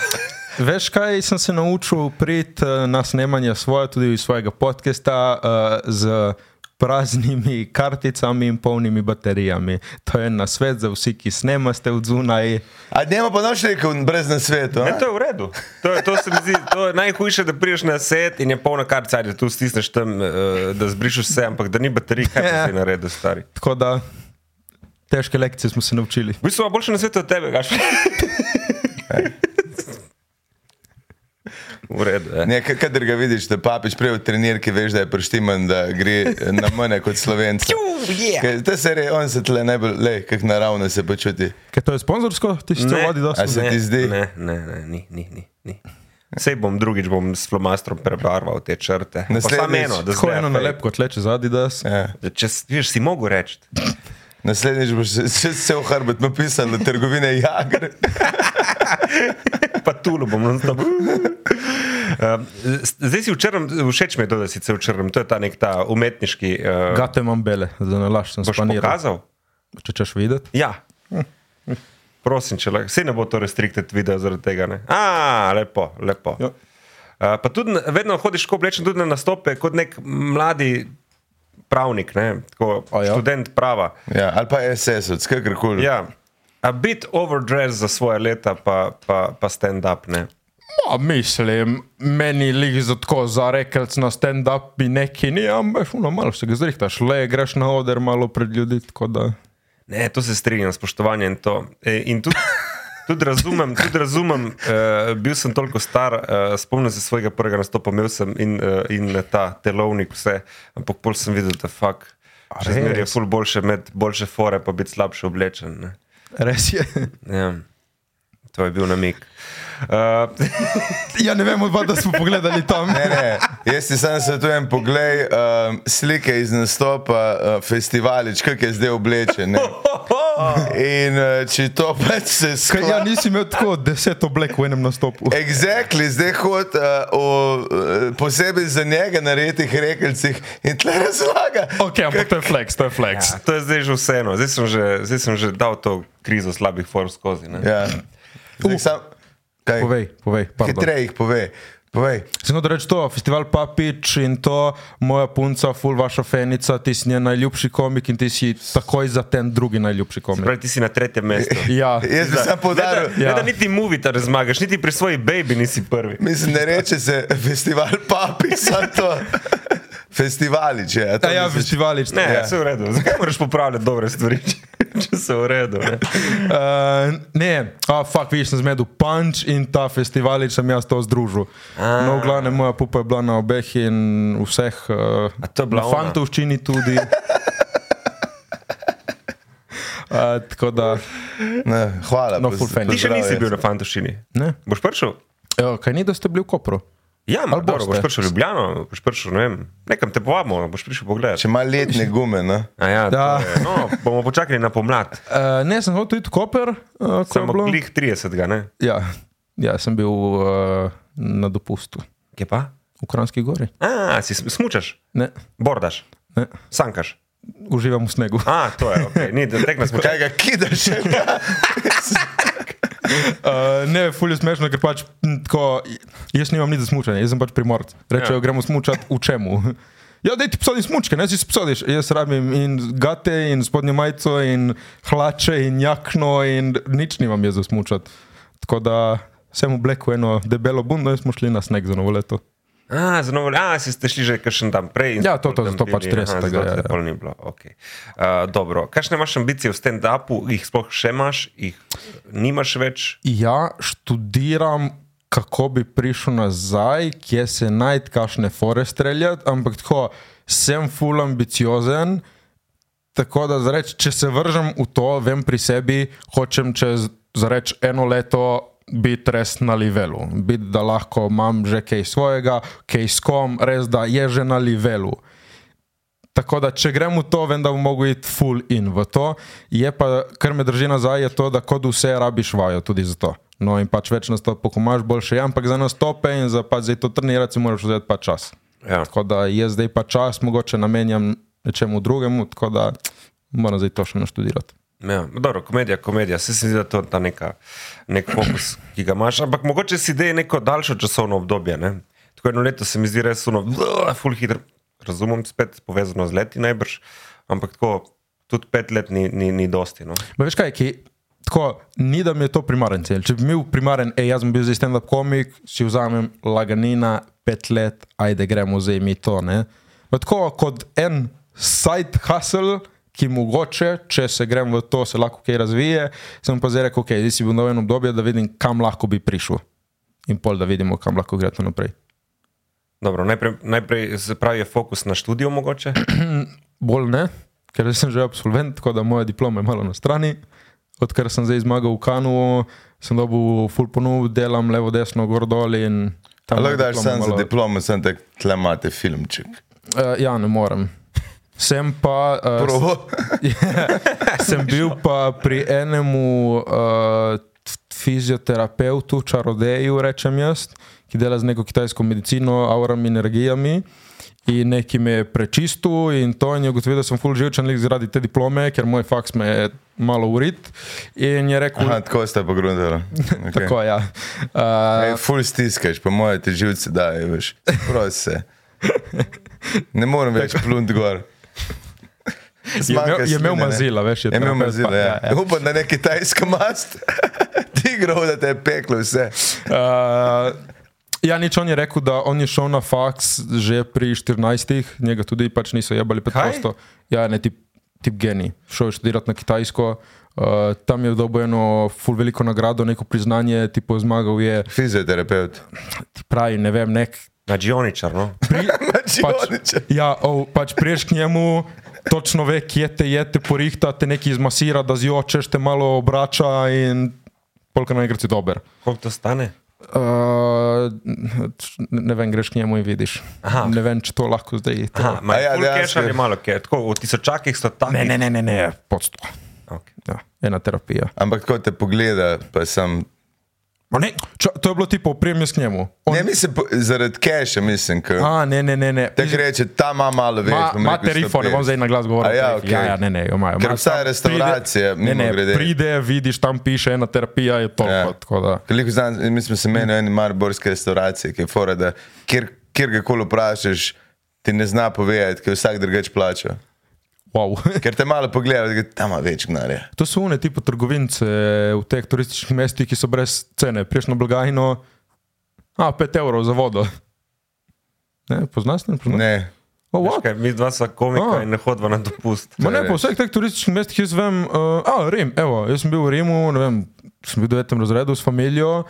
C: Veš, kaj sem se naučil prid eh, na snemanje svoje, tudi iz svojega podcasta eh, z praznimi karticami in polnimi baterijami. To je na svet za vsi, ki snemate od zunaj.
D: A dneva pa noč rekel, brez na svetu.
F: Ne, to je v redu. To, je- to se mi zdi to je najhujše, da priješ na set in je polna kartica, da tu stisneš tam, eh, da zbrišeš vse, ampak da ni baterij, kaj
C: Ja.
F: pa si naredil, stari.
C: Tako da težke lekcije smo se naučili.
F: V bistvu ima boljše na svetu od tebe, Gašprej. V redu. eh.
D: Ne, kader ga vidiš, da papiš prej v trenirki, veš, da je prštiman, da gre na mene kot slovenc. Ta serija, on se tle najbolj, le, kak naravno se počuti.
C: Ker to je sponzorsko, ti si to
F: Ne.
C: vodi dosti.
D: A se
F: Ne,
D: ti zdi?
F: Ne, ne, ne, ni, ni, ni. ni. Sej bom drugič bom s flomastrom prebarval te črte. Pa
D: Naslednjič.
F: Samo eno, da
C: Tako
F: zgleda
C: eno
F: fake.
C: nalepko tleče zadnji, da se.
D: Ja.
F: Da Če s- veš, si mogel reči.
D: Naslednjič boš se- se vse v hrbet napisal, da trgovine Jagr.
F: Pa tu bom na
C: *laughs*
F: to. Zdaj si v črnem, všeč mi je to, da si se v črnem, to je ta nek ta umetniški. Uh,
C: Gate imam bele, da ne laž, sem
F: boš
C: spaniral.
F: pokazal?
C: Če češ videti.
F: Ja. Prosim, če lahko. Vse ne bo to restricted video zaradi tega. Ne? A, lepo, lepo.
C: Ja.
F: Uh, pa tudi na- vedno hodiš tako oblečen tudi na nastope kot nek mladi pravnik, ne? tako,
C: A ja?
F: študent prava.
D: Ja, ali pa SS-ovc, kakorkoli.
F: Ja. A bit overdress za svoje leta, pa, pa, pa stand up. Ne?
C: Ma, mislim, meni lik za tako za rekelc na stand-up bi neki ni, ampak no, malo se ga zrihtaš, le greš na oder malo pred ljudi, tako da.
F: Ne, to se strinjam, spoštovanje in to. E, in tudi, tudi razumem, tudi razumem uh, bil sem toliko star, uh, spomnim se svojega prvega nastopa, imel sem in, uh, in ta telovnik, vse, ampak pol sem videl, da fuk. Še zmeraj je ful boljše imeti boljše fore, pa biti slabše oblečen. Ne.
C: Res je.
F: Ja. To je bil namik. Uh,
C: *laughs* Ja, ne vemo, da smo pogledali *laughs* tam.
D: Ne, ne, jaz ti sam svetujem, poglej um, slike iz nastopa uh, festivalič, kak je zdaj oblečen. ne. In uh, če to pač se
C: Ker
D: sklada.
C: ja, nisi imel tako deset oblek v enem nastopu.
D: Exactly, zdaj hod uh, o, uh, posebej za njega na retih rekelcih in tle razlaga.
C: Ok, ampak to je flex, to je flex.
F: ja, to je zdaj že vseeno, zdaj sem že, zdaj sem že dal to krizo slabih for skozi. ne.
D: Ja. Zdaj sam, kaj,
C: Povej, povej. pardon.
D: hitreje jih pove. Povej.
C: Sem hotel reči to, festival Papič in to, moja punca, ful vaša fenica, ti si njen najljubši komik in ti si takoj za ten drugi najljubši komik.
F: Pravi, ti si na tretjem mestu.
C: Ja,
D: Jaz bi sam
F: Ne,
D: podaril.
F: da, ja.
C: Ja.
F: ne, da niti muvita ne zmagaš, niti pri svoji baby nisi prvi.
D: Mislim, ne reče se festival papi, *laughs* samo to. Festivalič je. a to
C: ja, ja
D: misliš?
C: festivalič.
F: Ne,
C: ja.
F: ja. vse je v redu. *laughs* Zakaj moraš popravljati dobre stvari, če, če so v redu? Ne?
C: Uh, ne, a fuk, viš, sem zmedel punč in ta festival, sem jaz to združil. No, v glavnem, moja pupa je bila na obeh in vseh. Uh,
F: A to je bila
C: na
F: ona?
C: fantovščini
F: *laughs*
C: tudi. Uh, tako da,
D: Ne, hvala.
C: No,
D: poz-
C: full fan.
F: Ti še
D: pozdrav,
F: nisi
D: jaz.
F: bil na fantošini.
C: ne.
F: Boš prišel?
C: Jo, kaj ni, da ste bili v Kopru?
F: Ja,
C: Ali
F: morda boš
C: boste?
F: prišel v Ljubljano, boš prišel, ne vem, nekam te povabimo, boš prišel pogledat.
D: Če ima letne gume, no.
C: *laughs*
D: ne?
F: A Ja, to
C: Da.
F: je- no, bomo počakali na pomlad,
C: Uh, ne, sem hodil tudi v Koper. Uh, ko je
F: samo
C: bilo-
F: klih 30. Ne?
C: ja, ja, sem bil uh, na dopustu
F: Kje pa?
C: v Kranski gori.
F: A, si sm- smučaš,
C: Ne,
F: bordaš,
C: ne,
F: sankaš.
C: uživam v
F: *laughs*
C: snegu.
F: A, to je, okay. ni, tek nas počakaj.
D: Kaj ga kidaš?
C: Uh, ne, fulje smešno, ker pač m, tako, jaz nimam nič za smučanje, jaz sem pač primorc. Rečejo,
F: Ja.
C: ja. gremo smučati v čemu. *laughs* Ja, da ti posodiš smučke, ne si posodiš. Jaz rabim in gate, in spodnjo majico, in hlače, in jakno, in nič nimam jaz za smučati. Tako da sem oblekel eno debelo bundo in smo šli na sneg za novo leto.
F: A, za novo, a, si ste šli že kakšen dan prej. in
C: Ja, to-
F: ste
C: to-
F: pol tam
C: to pač
F: bili. Aha,
C: 30.,
F: zato
C: ja,
F: te
C: ja.
F: pol ni bilo, okej. Uh, dobro. Kakšne imaš ambicije v stand-upu, jih sploh še imaš, jih nimaš več?
C: Ja, študiram, kako bi prišel nazaj, kje se najti, kakšne fore streljati, ampak tako, sem full ambiciozen. Tako da, zareč, če se vržem v to, vem pri sebi, hočem čez zareč, eno leto biti res na levelu, biti da lahko imam že kaj svojega, kaj s kom, res da je že na levelu. Tako da, če grem v to, vem, da bom mogel iti full in v to. Je pa, kar me drži nazaj, je to, da kot vse rabiš vajo tudi za to. No, in pač več nastopov, ko imaš boljše, je, ampak za nastope in za pač zdaj to trenirati, si moraš vzeti pa čas.
F: Ja.
C: Tako da jaz zdaj pa čas mogoče namenjam nečemu drugemu, tako da moram zdaj to še naštudirati.
F: Ja, dobro, komedija, komedija, se zdi, da je to ta neka, nek fokus, ki ga imaš, ampak mogoče si ideje neko daljše časovno obdobje. Ne? Tako eno leto se mi zdi res uno, full hitro. Razumem, spet povezano z leti najbrž, ampak tako tudi pet let ni, ni, ni dosti. No?
C: Ma veš kaj, ki, tako, ni da mi je to primaren cilj. Če bi bil primaren, ej, jaz sem bil zdaj stand-up komik, si vzamem laganina, pet let, ajde gremo zdaj mi to. Ne? Pa Tako kot en side hustle, ki mogoče, če se grem v to, se lahko kaj razvije, sem pa zdaj rekel, ok, zdaj si bil na enem obdobju, da vidim, kam lahko bi prišel. In pol, da vidimo, kam lahko gre to naprej.
F: Dobro, najprej, najprej se pravi, je fokus na študijo mogoče.
C: bolj ne, ker sem že absolvent, tako da moja diploma je malo na strani. Odkar sem zdaj zmagal v Kanu, sem dobil full ponudb, delam levo, desno, gor dol in tam.
D: Lahko
C: je
D: daš
C: diploma
D: samo za
C: malo-
D: diplomo, sem tak tlemate filmček.
C: Eh, Ja, ne morem. Sem pa, eh,
D: Probo.
C: *laughs* sem bil pa pri enemu uh, fizioterapeutu, čarodeju, rečem jaz, ki dela z neko kitajsko medicino, aurami, energijami. In neki me je prečistil, in to in je ugotovil, da sem full živčen lik zaradi te diplome, ker moj faks me je malo urit. In je rekel,
D: Aha,
C: Aha,
D: tako ste pa grundali. Okay.
C: *laughs* tako ja. Uh,
D: Ej, ful stiskaš, po moje ti živce daje, veš. Prosi se. Ne morem več plunt gor.
C: je
D: Zmanjka
C: imel, je imel
D: sline, ne.
C: mazila, veš,
D: Je imel
C: terapevt pa-
D: mazila,
C: *laughs*
D: ja. Upam, da ne kitajska mast. *laughs* Ti grov, da te je peklo vse.
C: Uh, ja, nič on je rekel, da on je šel na faks že pri 14, njega tudi pač niso jebali
F: Kaj?
C: preprosto. Ja, ne tip, tip geni. Šel je študirati na Kitajsko, uh, tam je dobil eno ful veliko nagrado, neko priznanje, tipo zmagal je,
D: Fizioterapeut.
C: ti pravi, ne vem, nek.
F: Na Džioničar, no?
D: Mačioniče.
C: Ja, oh, pač priješ k njemu. Točno ve, kje te je, te porihta, te nekaj izmasira, da zjočeš, te malo obrača in polka naenkrat si dober.
F: koliko to stane?
C: Uh, ne vem, greš k njemu in vidiš. Aha. Ne vem, če to lahko zdaj. To.
F: Aha, ima
D: A ja,
F: ja, cash
D: dejansko je.
F: ali malo cash, tako v tisočakih so tam.
C: Ne, ne, ne, ne, ne. pod sto.
F: Okay.
C: Ja, ena terapija.
D: Ampak ko te pogleda, pa sem.
C: Ma Ne, ča, to je bilo tipo, prijem jaz k njemu. On,
D: Ne, mislim, po- zaradi keša, mislim. ko-
C: a, ne, ne, ne. ne.
D: Tako reče, ta ima malo več. bom
C: Ima
D: rekel,
C: telefon, ne
D: 150.
C: bom zdaj na glas govoril.
D: A ja,
C: tarif. ja,
D: okej.
C: ja, ne, ne, jo imajo.
D: Ker
C: Ima
D: obstaja
C: tam-
D: restavracija,
C: pride, ne,
D: mimogrede.
C: ne, pride, vidiš, tam piše ena terapija, je to.
D: Ja.
C: Ja. Tako da.
D: Veliko znam, mi smo se menili v eni marborski restauraciji, ki je fora, da kjer, kjer ga koli vprašaš, ti ne zna povedati, ker vsak drugač plača.
C: Wow. *laughs*
D: Ker te malo pogleda, da tam ima več gnare.
C: To so une tipo trgovince v teh turističnih mestih, ki so brez cene. Prejšnjo blagajno, a 5 evrov za vodo. Ne, poznaš ne? Poznaš?
D: Ne,
C: Oh, what?
F: Kaj, mi dva sva komika
C: A.
F: oh. in ne hodiva na dopust.
C: Ma ne, po vseh teh turističnih mestih jaz vem, uh, a Rim, evo, jaz sem bil v Rimu, ne vem, sem bil v devetem razredu s familijo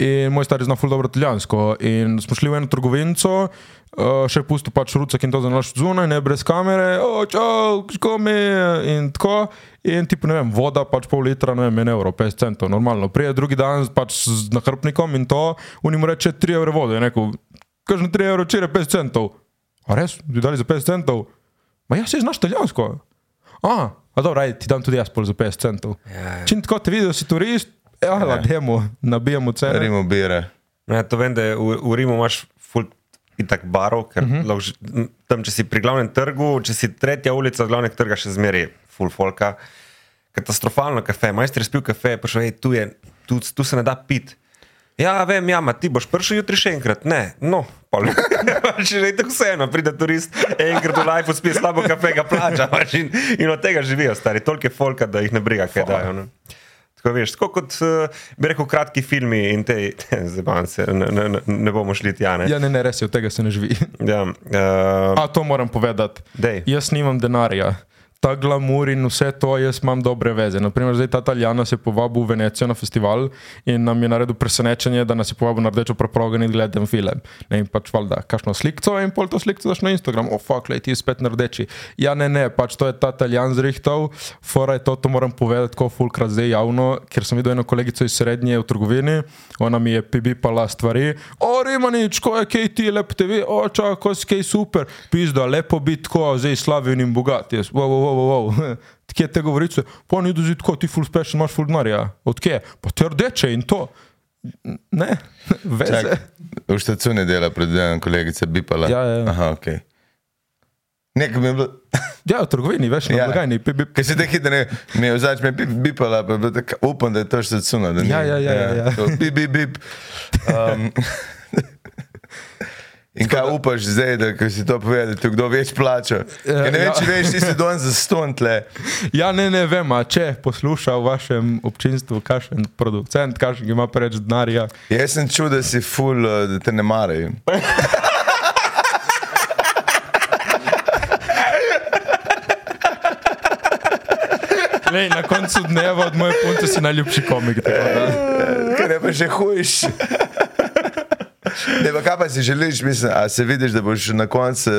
C: in moj stari zna ful dobro italijansko. In smo šli v eno trgovinco, uh, še pusto pač rucek in to za naš zunaj, ne brez kamere, o, čau, škomi in tako. In tipo, ne vem, voda pač pol litra, ne vem, en evro, 50 centov, normalno. Prije drugi dan pač z nahrbnikom in to, unimu reče 3 evre vode, je rekel, kažem 3 evre, včeraj 50 centov. A res, ti dali za 50 centov? Ma ja, se znaš italijansko. A, a dobro, ajde, ti dam tudi jaz pol za 50 centov. Ja. Čim tako te vidiš, si turist, ja, ja. demo, nabijamo cene.
D: Rim ubira.
F: Ne, to vem, da je v, v Rimu imaš ful itak barov, ker uh
C: Mhm.
F: -huh. že, m, tam, če si pri glavnem trgu, če si tretja ulica od glavnega trga, še zmeraj je ful folka. Katastrofalno kafe, majster je spil kafe, prišel je tu, je, tu, tu se ne da pit. Ja, vem, ja, ma, ti boš prišel jutri še enkrat, ne, no, pa *laughs* če že tako vseeno, pride turist, enkrat v life uspe slabo kafe, ga plača *laughs* pač in, in od tega živijo stari, toliko je folka, da jih ne briga, kaj dajo. Ne. Tako, veš, tako kot eh, bi rekel, kratki filmi in te, *laughs* zeban se, ne, ne, ne- ne bomo šli tja. Ne?
C: Ja, ne, ne, res je, od tega se ne živi.
F: Ja, uh,
C: A to moram povedati.
F: Dej.
C: Jaz nimam denarja. ta glamur in vse to, jaz imam dobre veze. Naprimer, zdaj ta Italijana se je povabil v Venecijo na festival in nam je naredil presenečenje, da nas je povabil na rdečo preprogo in gledam film. Ne, in pač valjda, kakšno sliko in pol to sliko daš na Instagram, o oh, fuck, lej ti je spet na rdeči. Ja, ne, ne, pač to je ta Italijan zrihtal, fora je to, to moram povedati, ko fulkrat zdaj javno, ker sem videl eno kolegico iz srednje v trgovini, ona mi je pibipala stvari, o Rimanič, ko je KT lep TV, o čak, ko je KT super, pizda, lepo biti tako, zdaj slavljen in bogat, jaz, wow, wow, wow, wow. *laughs* Kje te govorice, pa ni dozi tako, ti full special, imaš full denarja, odkje, pa te rdeče in to. Ne, *laughs* veze.
D: Čak, v štacu ne dela, predvidevam, kolegica Bipala.
C: Ja, ja.
D: Aha, ok. Nekaj mi je bilo,
C: Ja, v trgovini, veš, na
D: Ja.
C: blagajni. pi, pi, pi.
D: ker se tako hitro ne, mi je vzač me bip, bipala, pa je bilo tako, upam, da je to štacu.
C: Ja, ja, ja, ja, ja.
D: Bip, bip, bip. Um, In kaj upaš zdaj, da ko si to povedal, da ti kdo več plača? Ja, ne
C: ja.
D: veš, če veš, ti si
C: *laughs*
D: don za ston tle.
C: Ja, ne, ne vem, a če posluša v vašem občinstvu, kakšen producent, kakšen ki ima preveč denarja.
D: Jaz sem čutil, da si ful, eh, da te ne marajo.
C: Lej, na koncu dneva od moje punce si najljubši komik. tako da.
D: Ker je pa še hujš. Ne, pa kaj pa si želiš, mislim, a se vidiš, da boš na koncu.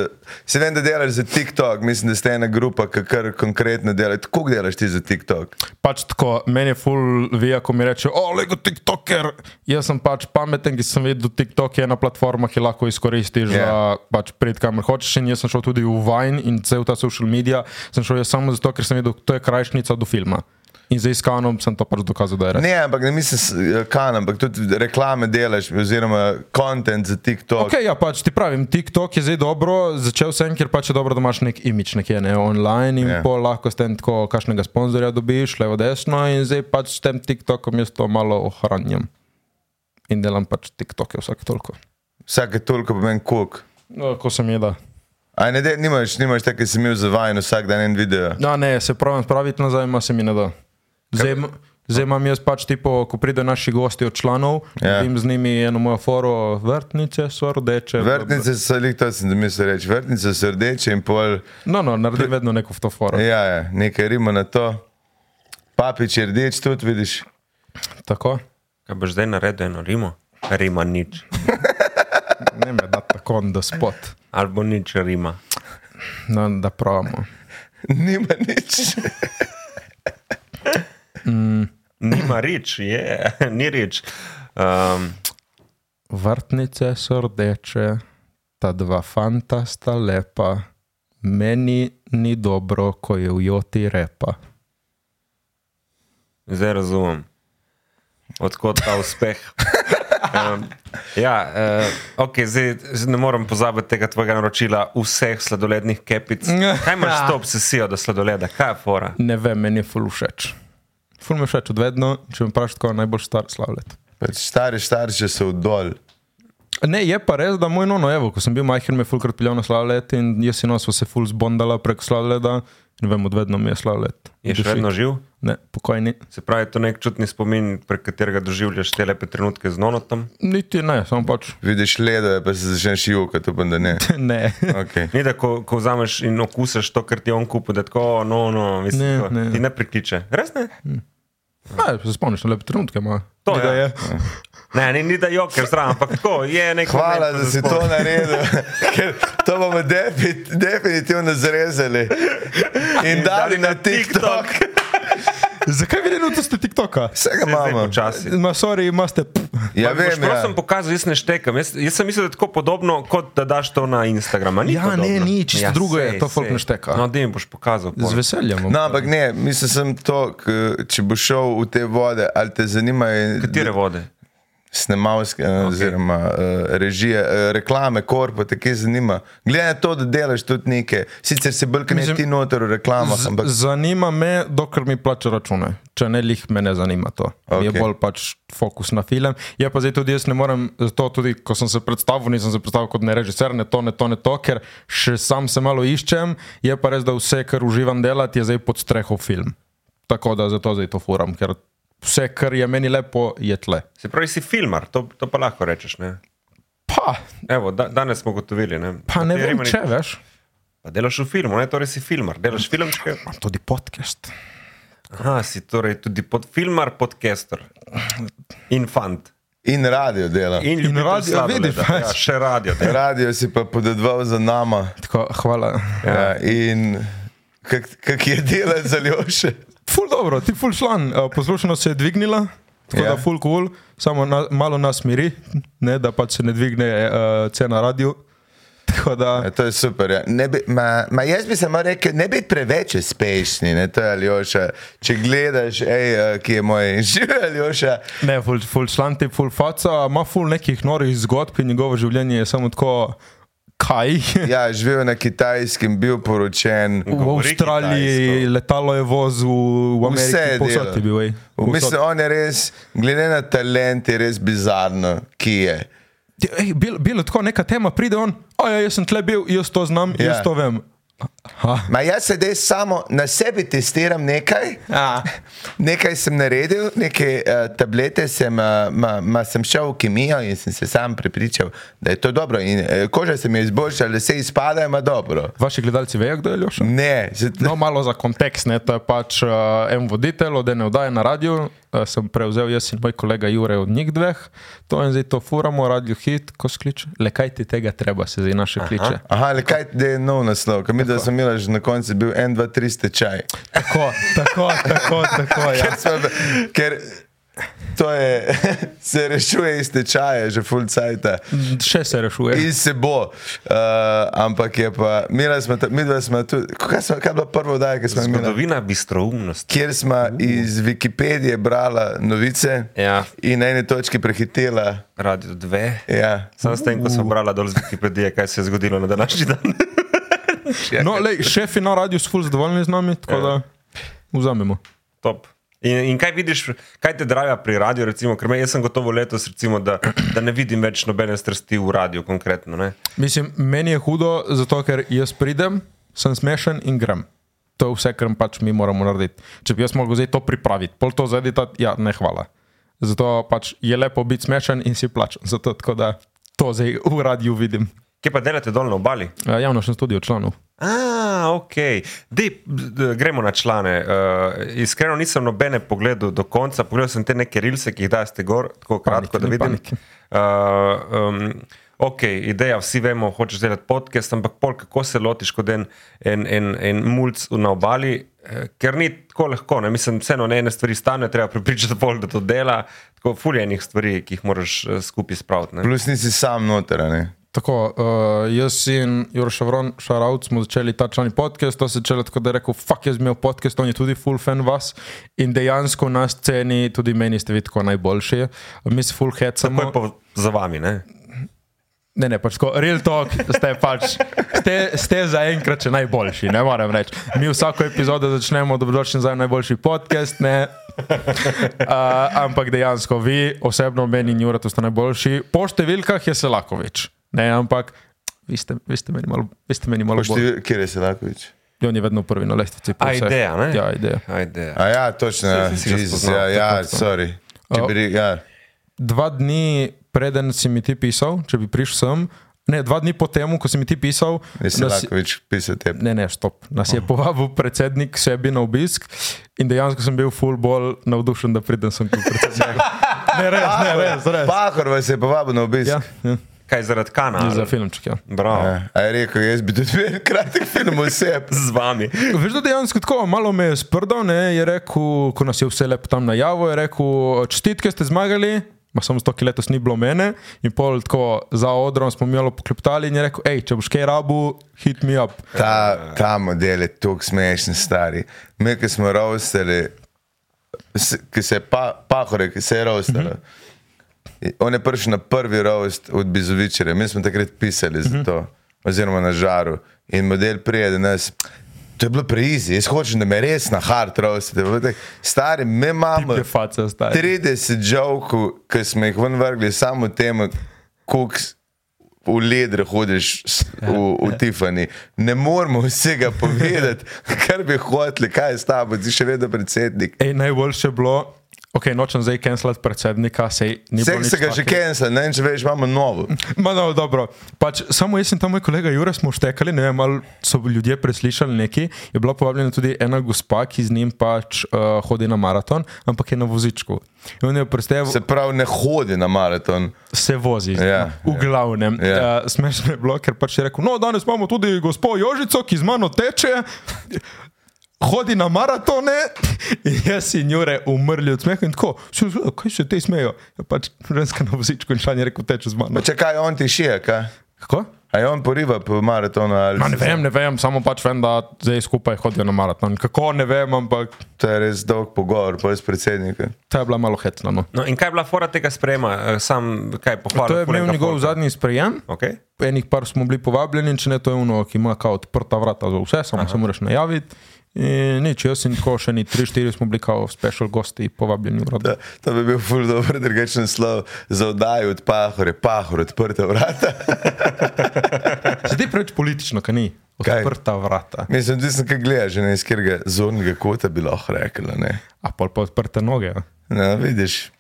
D: Se vem, da delaš za TikTok, mislim, da ste ena grupa, ki kar konkretno dela. Kako delaš ti za TikTok?
C: Pač tako, meni je ful, vi, ko mi reče, o, lego TikToker. Jaz sem pač pameten, ki sem videl, da TikTok je ena platforma, ki lahko izkoristiš yeah. za
D: Ja.
C: pač prid, kamor hočeš. In jaz sem šel tudi v Vine in cel ta social media. Sem šel jaz samo zato, ker sem videl, to je krajšnica do filma. In z iskanom sem to pač dokazal, da je res.
D: Ne, ampak ne mislim s- eh, kan, ampak tudi reklame delaš, oziroma kontent za TikTok.
C: Okay, ja, pač ti pravim, TikTok je zdaj dobro, začel sem, ker pač je dobro, da imaš nek imič nekje ne, online in
D: Ja.
C: yeah. pol lahko s tem tako kakšnega sponzorja dobiš, levo desno in zdaj pač s tem TikTokom jaz to malo ohranjam. In delam pač TikToke vsak toliko.
D: Vsake toliko pomeni kuk.
C: No, ko se mi da.
D: A ne, de, nimaš, nimaš tako, kot si imel za vajen vsak dan en video.
C: Ja, ne, se pravim, spraviti nazaj, ima se mi ne da. Zdaj, im- zdaj imam jaz pač tipo, ko pridejo naši gosti od članov,
D: Ja.
C: yeah. jim z njimi eno mojo foro, vrtnice so rdeče. bla, bla.
D: Vrtnice so, lik to sem mislil reči, vrtnice so rdeče in pol.
C: No, no, naredi vedno neko v to foro.
D: Ja, ja, nekaj rima na to. Papič je rdeč, tudi vidiš. *laughs*
C: Tako.
F: Kaj boš zdaj naredil eno rimo? Rima nič.
C: Ne me da tako on the spot.
F: Ali bo nič rima.
C: No, da pravimo.
D: Nima nič. *laughs*
F: Nima rič, je, *laughs* ni rič. Um,
C: Vrtnice so rdeče, ta dva fanta sta lepa, meni ni dobro, ko je v joti repa.
F: zdaj razumem, odkot ta uspeh. Um, ja, uh, okay, zdaj, zdaj ne morem pozabiti tega tvojega naročila vseh sladolednih kepic. Kaj imaš s to obsesijo do sladoleda? Kaj je fora?
C: Ne vem, meni je ful všeč. Ful mi je všeč odvedno, če me vprašaš, kako je najbolj star slavljet.
D: Pač stari starši so vdolj.
C: Ne, je pa res, da moj nono, evo, ko sem bil majhen, me je fulkrat peljal na slavljet in jaz in osva se ful zbondala prek slavljeda in vem, odvedno mi je slavljet.
F: Je še vedno živ?
C: Ne, pokojni.
F: Se pravi, to je nek čutni spomin, prek katerega doživljaš te lepe trenutke z nonotom.
C: Niti ne, samo pač
D: Vidiš ledo, pa se začneš jokati, upam, da ne.
C: ne.
D: Okay.
F: Ni da, ko, ko vzameš in okusiš to, kar ti je on kupil, da tako, no, no, mislim,
C: Ne,
F: ne,
C: ne.
F: ne. ti ne prikliče. Res ne?
C: Ne, se spomniš, na lepe trenutke ima.
F: To
C: Ni da
F: ja.
C: je.
F: Ne, ni, ni da joker zraven, ampak tako je nek.
D: Hvala,
F: moment, ko
D: da si to
F: zaspomniš.
D: naredil, *laughs* ker to bomo defi, definitivno zrezali in dali na TikTok.
C: Zakaj vi ne ste TikToka?
D: Vsega
F: Saj zdaj
D: imamo.
F: Počasi.
C: Ma, sorry, imate.
D: Ja,
F: Ampak boš
D: vem, ja.
F: Prosim, pokazal, jaz ne štekam. Jaz, jaz sem mislil, da je tako podobno, kot da daš to na Instagram. a Ni
C: Ja,
F: podobno.
C: ne, ni, čisto drugo je,
F: sej,
C: to folk
F: sej.
C: ne šteka.
F: No, da jim boš pokazal.
C: Z
F: pol.
C: veseljem.
D: No, ampak ne, mislim, sem to, k- če boš šel v te vode, ali te zanimajo
F: Katere vode?
D: snemalske, okay. oziroma uh, režije, uh, reklame, korpo, te kaj zanima. Glede na to, da delaš tudi nekaj, sicer si bolj kaj
C: Mislim,
D: ti noter v reklamah,
C: Z,
D: ampak
C: zanima me, dokler mi plača račune. Če ne, lih me ne zanima to. Okay. Je
D: Okej.
C: bolj pač fokus na film. Je pa zdaj tudi jaz ne morem, zato tudi, ko sem se predstavil, nisem se predstavil kot ne režiser, ne to, ne to, ne to, ker še sam se malo iščem. Je pa res, da vse, kar uživam delati, je zdaj pod streho film. Tako da zato zdaj to furam, ker vse, kar je meni lepo, je tle.
F: Se pravi, si filmar, to, to pa lahko rečeš. Ne?
C: Pa,
F: Evo, da, danes smo gotovili. Ne?
C: pa ne
F: Kateri
C: vem,
F: meni-
C: če veš.
F: Pa delaš v filmu, ne? torej si filmar, delaš filmčke.
C: Imam tudi podcast.
F: Aha, si torej tudi pod, filmar, podcaster, infant.
D: In radio dela.
F: In, ljubitelj
C: radio,
F: sladoleda.
C: vidiš, pač.
F: ja, še radio. dela.
D: Radio si pa podedoval za nama.
C: Tako, hvala.
D: Ja, in kak, kak je delati za Ljoše?
C: Ful dobro, ti ful član, eh, poslušanost se je dvignila. Tako
D: Ja.
C: da ful cool, samo na, malo nas miri, ne, da pač se ne dvigne uh, cena radio. *laughs* Tako da,
D: Ja, to je super. Ja. Ne Bi, ma, ma jaz bi samo rekel, ne biti preveč uspešni, ne to je Aljoša. Če gledaš, ej, eh, ki je moj *laughs* živel Aljoša,
C: Ne, ful, ful članti, ful faca, ima ful nekih norih zgodb in njegovo življenje je samo tako, *laughs* kaj.
D: ja, živel na kitajskem, bil poročen.
C: *laughs* V Avstraliji
D: kitajsko.
C: letalo je vozil, v
D: Vse je
C: Ameriki
D: delal.
C: posod je bil. ej. Povsod.
D: Mislim, on je res, glede na talent, je res bizarno, ki je.
C: Ti- ej, bil- Bilo je tako, neka tema pride on, aja, jaz sem tle bil, jaz to znam,
D: Ja.
C: jaz to vem. Aha.
D: Ma jaz sedaj samo na sebi testiram nekaj.
C: Ja.
D: *laughs* Nekaj sem naredil, neke uh, tablete sem, uh, ma, ma sem šel v kemijo in sem se sam prepričal, da je to dobro. In, uh, koža se mi je izboljšala, vse izpada, ima dobro.
C: Vaši gledalci vejo, kdo je Ljoša?
D: Ne, se, no.
C: No, malo za kontekst, ne, to je pač uh, en voditelj od ene oddaje na radiju, uh, sem prevzel jaz in moj kolega Jure od njih dveh, to in zdaj to furamo, radio hit, ko skliče, le kaj ti tega treba, se zdaj naše kliče.
D: Aha, le kaj da je nov naslov, kam da sem imel že na koncu je bil 1, 2, 3 stečaj.
C: Tako, tako, tako, tako, ja.
D: Ker sva- Ker to je, *laughs* se rešuje iz stečaja, že full cajta.
C: Še se rešuje.
D: In se bo, uh, ampak je pa, mi dva smo tudi, kaj, smo, kaj je bila prva oddaja, ki smo jo imeli?
F: Zgodovina bistroumnosti.
D: kjer smo
C: Uh.
D: iz Wikipedije brala novice
F: Ja.
D: in na eni točki prehitela.
F: Radio 2.
D: Ja.
F: Sam s tem, ko sem brala dol z Wikipedije, kaj se je zgodilo na današnji dan. *laughs*
C: No, lej, šefi na radiju so ful zadovoljni z nami, tako da vzamemo.
F: Top. In, in kaj vidiš, kaj te draga pri radiju, recimo, ker me, jaz sem gotovo letos, recimo, da, da ne vidim več nobene strasti v radiju, konkretno. Ne?
C: Mislim, meni je hudo, zato ker jaz pridem, sem smešen in grem. To je vse, kar pač mi moramo narediti. Če bi jaz mogel zdaj to pripraviti, pol to zeditati, ja, ne hvala. Zato pač je lepo biti smešen in si plačen. Zato tako da to zdaj v radiju vidim.
F: Kje pa delate dol na obali?
C: Eh, Javno še studio članov.
F: A, ok. Dej, d- gremo na člane. Uh, iskreno nisem nobene pogledal do konca, pogledal sem te neke rilse, ki jih daste gor, tako kratko,
C: Panik,
F: da
C: ni
F: vidim.
C: panike.
F: Uh, um, ok, ideja, vsi vemo, hočeš delati podcast, ampak pol kako se lotiš kot en, en, en, en mulj na obali, eh, ker ni tako lahko. Ne? Mislim, vseeno ne ene stvari stanejo, treba pripričati pol, da to dela. Tako fuljenih stvari, ki jih moraš eh, skupaj spraviti. ne.
D: Plus nisi sam noter, a ne?
C: Tako, uh, jaz in Juro Šavron, Šarovc smo začeli ta člani podcast, to se je začelo tako, da je rekel, fuck, jaz bi imel podcast, on je tudi full fan vas in dejansko na sceni, tudi meni ste vi tako najboljši. Mi se full
F: Tako
C: hecamo.
F: je pa za vami. Ne?
C: Ne, ne, pač tako, real talk, ste pač, ste, ste zaenkrat še najboljši, ne morem reči. Mi vsako epizodo začnemo, dobrodošli za najboljši podcast, ne. Uh, ampak dejansko vi, osebno meni in Jurek, ste najboljši. Po številkah je Selakovič, ne, ampak vi ste, vi ste meni malo, vi ste meni malo bolj.
D: Pošti, kjer je Selakovič?
C: On je vedno prvi na lestvici. po
F: A
C: vseh.
F: ideja, ne?
C: Ja, ideja.
F: Ajde.
D: A ja, točno, ja,
F: Saj si ga
D: Jezus, ja,
F: spoznal,
D: ja, sorry. Če bi rekel, ja.
C: dva dni preden si mi ti pisal, če bi prišel sem, ne, dva dni po tem, ko No, si mi ti pisal,
D: Je
C: nas-
D: Selakovič pisal te.
C: ne, ne, stop. Nas je povabil predsednik k sebi na obisk in dejansko sem bil full ball navdušen, da pridem sem kot predsednik. *laughs* Ne, res, ne, res, res.
D: Pahor vas je povabil na obisk.
C: Ja,
D: Ja.
C: ja.
F: Kaj zaradi kana?
C: Za
F: ali?
C: filmček. Ja.
F: Bravo.
D: A je rekel, jaz bi tudi bil kratek film vse.
F: z vami.
C: Veš, da dejansko tako malo me je sprdal, ne, je rekel, ko nas je vse lepo tam najavil, je rekel, čestitke ste zmagali. Ma samo zato, ki letos ni bilo mene, in pol tako za odrom smo mi malo poklepetali in je rekel: hej, če boš kaj rabu, hit me up.
D: Ta, ta model je tako smešen, stari. Mi, ki smo rovstali, s- ki se je pa, pahore, ki se je rovstalo. On je prišel na prvi rovst od Bizovičere, mi smo takrat pisali za to, oziroma na žaru. In model prije do nas. To je bilo preizi, jaz hočem, da me res na hard rovstite. Pa tako, Stari, mi imamo
C: Te face zdaj.
D: 30 žovkov, ki smo jih ven vrgli, samo temu, koliko s- v ledre hodiš s-
C: Ja,
D: v, v Tifani. Ne moremo vsega *laughs* povedati, kar bi hoteli, kaj je s tabo, ti še vedno predsednik.
C: Ej, najboljše je bilo, Ok, nočem zdaj cancelati predsednika, sej ni bilo
D: Vseh
C: nič
D: se ga že
C: takega.
D: kensa, ne vem, če veš, imamo novo.
C: Ma, no, dobro. Pač, samo jaz in ta moj kolega Jure smo štekali, ne vem, ali so ljudje preslišali neki. Je bila povabljena tudi ena gospa, ki z njim pač uh, hodi na maraton, ampak je na vozičku. In on je presteval,
D: Se
C: se,
D: pravi, ne hodi na maraton.
C: se vozi,
D: Ja,
C: yeah, v
D: ja.
C: glavnem.
D: Ja.
C: Yeah. Uh, smešno je bilo, ker pač je rekel, no, danes imamo tudi gospo Jožico, ki z mano teče. Hodi na maratone, in jaz in Jure umrli od smeha in tako. "Saj, saj, Kaj se te smejo? Ja, pač ženska na vozičku in šanje reko teče z mano.
D: Pa Čakaj, on ti šije, kaj?
C: Kako?
D: A je on poriva po maratonu ali
C: Ma, ne vem, ne vem, samo pač vem, da zdaj skupaj hodijo na maraton. Kako ne vem, ampak
D: To je res dolg pogovor, pa je s predsednikom.
C: to je bila malo hecna. No.
F: No, in kaj je bila fora tega sprejema, Eh, sam kaj pohvalil?
C: To je bil
F: Fulenga
C: njegov
F: Folka.
C: zadnji sprejem.
F: Okay.
C: Enih par smo bili povabljeni, če ne to je ono, ki ima kao odprta vrata za vse, samo se moraš najaviti. In nič, jaz in tako še ni 3-4 smo bili kao special gosti povabljeni. v
D: Da,
C: Rodo.
D: to bi bil ful dobro drugačen slov za oddajo od pahore, pahor, odprte vrata. *laughs*
C: Se ti preveč politično, kaj ni?
D: Kaj?
C: Odprta vrata.
D: Mislim, da sem kaj gledal, že ne iz katerega zornega kota bi lahko rekla. Ne?
C: A pol pa odprte noge. ja. a?
D: No, vidiš.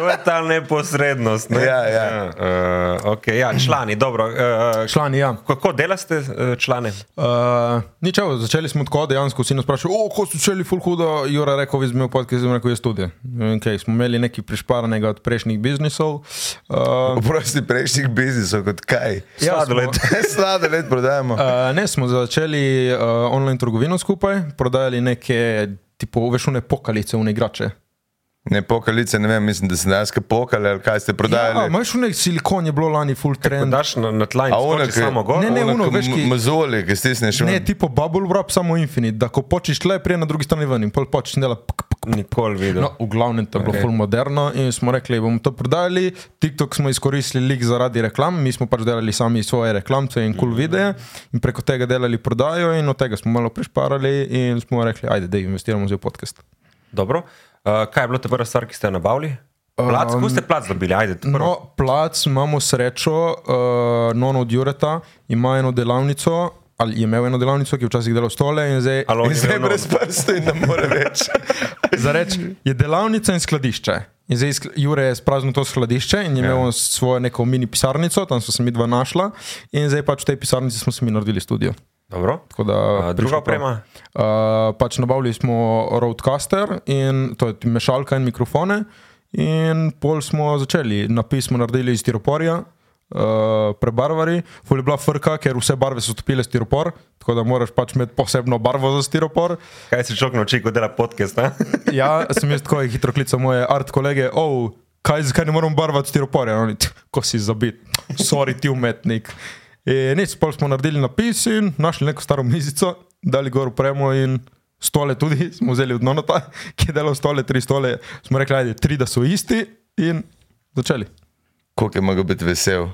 F: To je ta neposrednost. Ne?
D: Ja, ja.
F: Uh, okay, ja, člani, dobro. Uh,
C: Člani, ja.
F: kako delaste eh, člane?
C: Uh, nič, evo, začeli smo tako, dejansko vsi nas sprašujejo, oh, ko so začeli full hudo, Jura rekel, vi smo podcast, sem rekel, jaz tudi. Okay, smo imeli nekaj prišparanega od prejšnjih biznisov. Uh,
D: Oprosti prejšnjih biznisov, kot kaj. *laughs*
C: ja, smo-
F: Sladoled.
D: Sladoled prodajamo.
C: Uh, ne, smo začeli uh, online trgovino skupaj, prodajali neke, tipo, veš, une pokalice, une igrače.
D: Ne pokalice, ne vem, mislim, da sem danes pokal ali kaj ste
C: Ja,
D: prodajali.
C: imaš une silikon, je bilo lani full trend.
F: Daš na, na tla in
D: A ona,
F: skočiš
D: ki-
F: samo gor?
C: Ne, ne, uno, veš, ki-
D: Mazoli, ki stisneš.
C: Ne,
D: Ne,
C: tipo bubble wrap, samo infinite, da ko počneš tle, prije na drugi strani ven in pol počneš in dela. Pk, pk,
F: Nikoli videl.
C: No, v glavnem to je bilo okay. full moderno in smo rekli, bomo to prodali. TikTok smo izkoristili lik zaradi reklam, mi smo pač delali sami svoje reklamce in kul
F: Mhm.
C: cool videe in preko tega delali prodajo in od tega smo malo prišparali in smo rekli, ajde, da investiramo zdaj v podcast.
F: Dobro. Uh, kaj je bilo ta prva stvar, ki ste jo nabavili? Plac, um, kako ste plac dobili? Ajde, to prvo.
C: No, plac imamo srečo, uh, non od Jureta ima eno delavnico, ali je imel eno delavnico, ki je včasih delal stole in zdaj...
F: Ali on je
D: in zdaj
F: imel
D: brez prstov in ne more več.
C: Zareč, je delavnica in skladišče. In zdaj skl- Jure je spraznil to skladišče in je
F: Ja.
C: imel on svojo neko mini pisarnico, tam so se mi dva našla in zdaj pač v tej pisarnici smo si mi naredili studio.
F: Dobro.
C: Tako Da,
F: A, druga
C: prišlo prav.
F: oprema?
C: Uh, pač nabavili smo roadcaster in to je mešalka in mikrofone in pol smo začeli. Napis smo naredili iz stiroporja. Uh, prebarvali, ful je bila frka, ker vse barve so stopile stiropor, tako da moraš pač imeti posebno barvo za stiropor.
F: Kaj si človek nauči, ko dela podcast? Ne? *laughs*
C: Ja, sem jaz tako hitro klical moje art kolege, oh, kaj, zakaj ne moramo barvati stiroporja, no, ko si zabit, sorry ti umetnik. In nič, pol smo naredili napis in našli neko staro mizico, dali gor upremo in stole tudi, *laughs* smo vzeli od nonota, ki je delal stole, tri stole, smo rekli, ajde, tri da so isti in začeli.
D: Koliko je mogel biti vesel.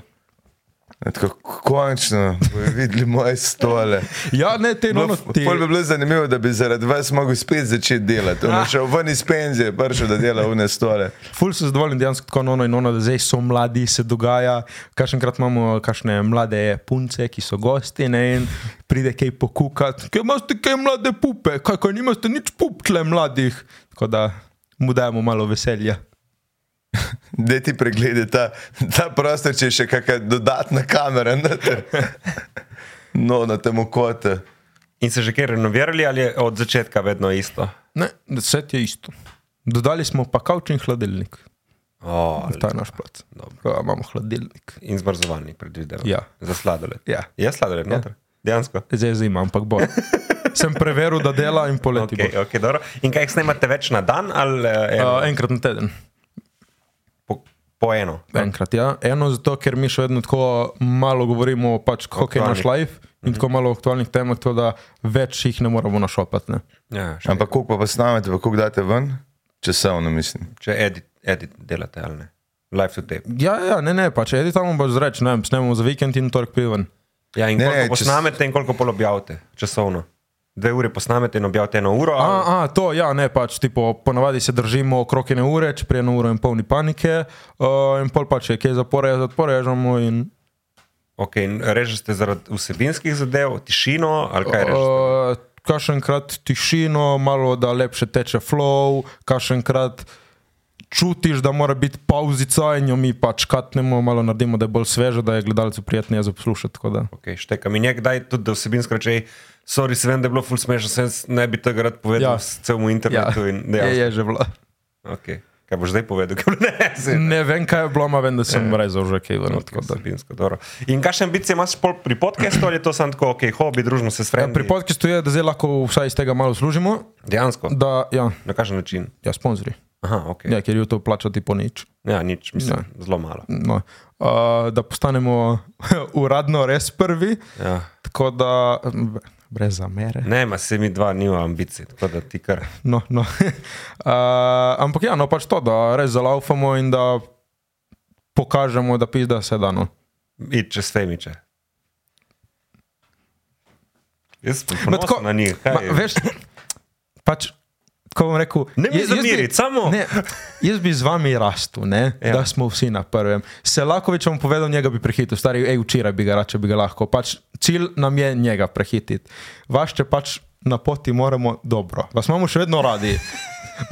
D: Ja, Tako, končno bojo videli moje *laughs* stole.
C: Ja, ne, te
D: Bilo-
C: nonoti.
D: No, Pol bi bilo zanimivo, da bi zaradi vas mogel spet začeti delati. On je *laughs* šel ven iz penzije, prišel da dela vne stole.
C: Ful sem zadovoljen, dejansko tako nono in ono, da zdaj so mladi, se dogaja. Kašenkrat imamo kakšne mlade punce, ki so gosti ne, in pride kaj pokukati. Kaj imate, kaj mlade pupe, kaj, kaj nimate nič pup tle mladih. Tako da mu dajemo malo veselja.
D: Da ti preglede ta, ta prostor, če je še kakšna dodatna kamera. noter. *laughs* No, na tem okote.
F: In se že kje renovirali ali je od začetka vedno isto?
C: Ne, deset je isto. Dodali smo pa kavč in hladilnik.
F: Oh,
C: Ta je naš plac. Tako da Imamo hladilnik.
F: in zmrzovalnik, predvidevam.
C: Ja.
F: Za sladoled.
C: Ja.
F: Je sladoled, ja. noter. Dejansko.
C: Zdaj je zima, ampak bo. Sem preveril, da dela in poleti.
F: Okay,
C: Okay,
F: okay, dobro. in kaj jih snemate več na dan ali eh,
C: okay.
F: eno, uh,
C: Uh, enkrat na teden.
F: po, po eno?
C: Enkrat, ja. Eno zato, ker mi še vedno tako malo govorimo, pač kako je naš life in tako malo o aktualnih temah, tako da več jih ne moramo našopati. Ne.
F: Ja, še,
D: Ampak koliko pa snamete, pa koliko date ven? Časovno mislim.
F: če edit, edit delate ali ne. Live to tape.
C: Ja, ja, ne, ne, pač editamo boš zreč, ne, vem, snemamo za vikend in torek piven.
F: Ja, in ne,
D: Ne,
F: koliko
D: ne, čez-
F: posnamete, in koliko pol objavite časovno? Dve uri posnamete in objavite eno uro. ali-
C: A, a, to, ja, ne, pač, tipo, ponavadi se držimo okrog ene ure, če prije eno uro in polni panike, uh, in pol pač, je, kje zaporejo, zaporežemo in
F: Okay, režete zaradi vsebinskih zadev, tišino ali kaj režete?
C: uh, kašenkrat tišino, malo da lepše teče flow, kašenkrat čutiš, da mora biti pauzica in jo mi pač katnemo, malo naredimo, da je bolj sveže, da je gledalcu prijetneje za poslušati. tako da.
F: Okay, šteka mi nekdaj tudi, da vsebinsko reče, sorry, se vem, da je bilo ful smešno, sem ne bi tega rad povedal ja.
C: Ja.
F: celemu internetu. Ja. In,
C: je,
F: ja,
C: je že bilo.
F: Okay. Kaj boš zdaj povedal, *laughs* kaj ne znaš?
C: Ne vem, kaj je bilo, ampak vem, da sem rezal že kaj ven. tako da.
F: Vsebinsko, dobro. In kakšne ambicije imaš pol pri podkastu ali je to samo tako, ok, hobi, družimo se
C: Ja,
F: s frendi?
C: pri podkastu je, da zdaj lahko vsaj iz tega malo služimo.
F: Dejansko,
C: Da, ja,
F: na kakšen način?
C: ja sponzorji.
F: Aha, ok.
C: Ja, ker je to plačati po nič.
F: Ja, nič, mislim, ja. zelo malo.
C: No. Uh, da postanemo *laughs* uradno res prvi.
F: Ja.
C: Tako da, mm, brez zamere.
F: Ne, ma se mi dva nima ambicij, tako da ti kar.
C: No, no. *laughs* uh, ampak ja, no pač to, da res zalaufamo in da pokažemo, da pizda se da. No.
F: Id čez femiče. Jaz sem
C: Ma
F: ponosen na njih.
C: No, ma,
F: kaj je?
C: veš, pač, tako bom rekel.
F: Ne mi
C: jaz- jaz bi-
F: zameriti, samo-
C: Ne, jaz bi z vami rastel, ne,
F: Ja.
C: ja. da smo vsi na prvem. Selakovič vam povedal, njega bi prehitil, stari, ej, včeraj bi ga rače, bi ga lahko. Pač, cilj nam je njega prehititi. Vaš če pač na poti moramo dobro. Vas imamo še vedno
D: *laughs*
C: radi.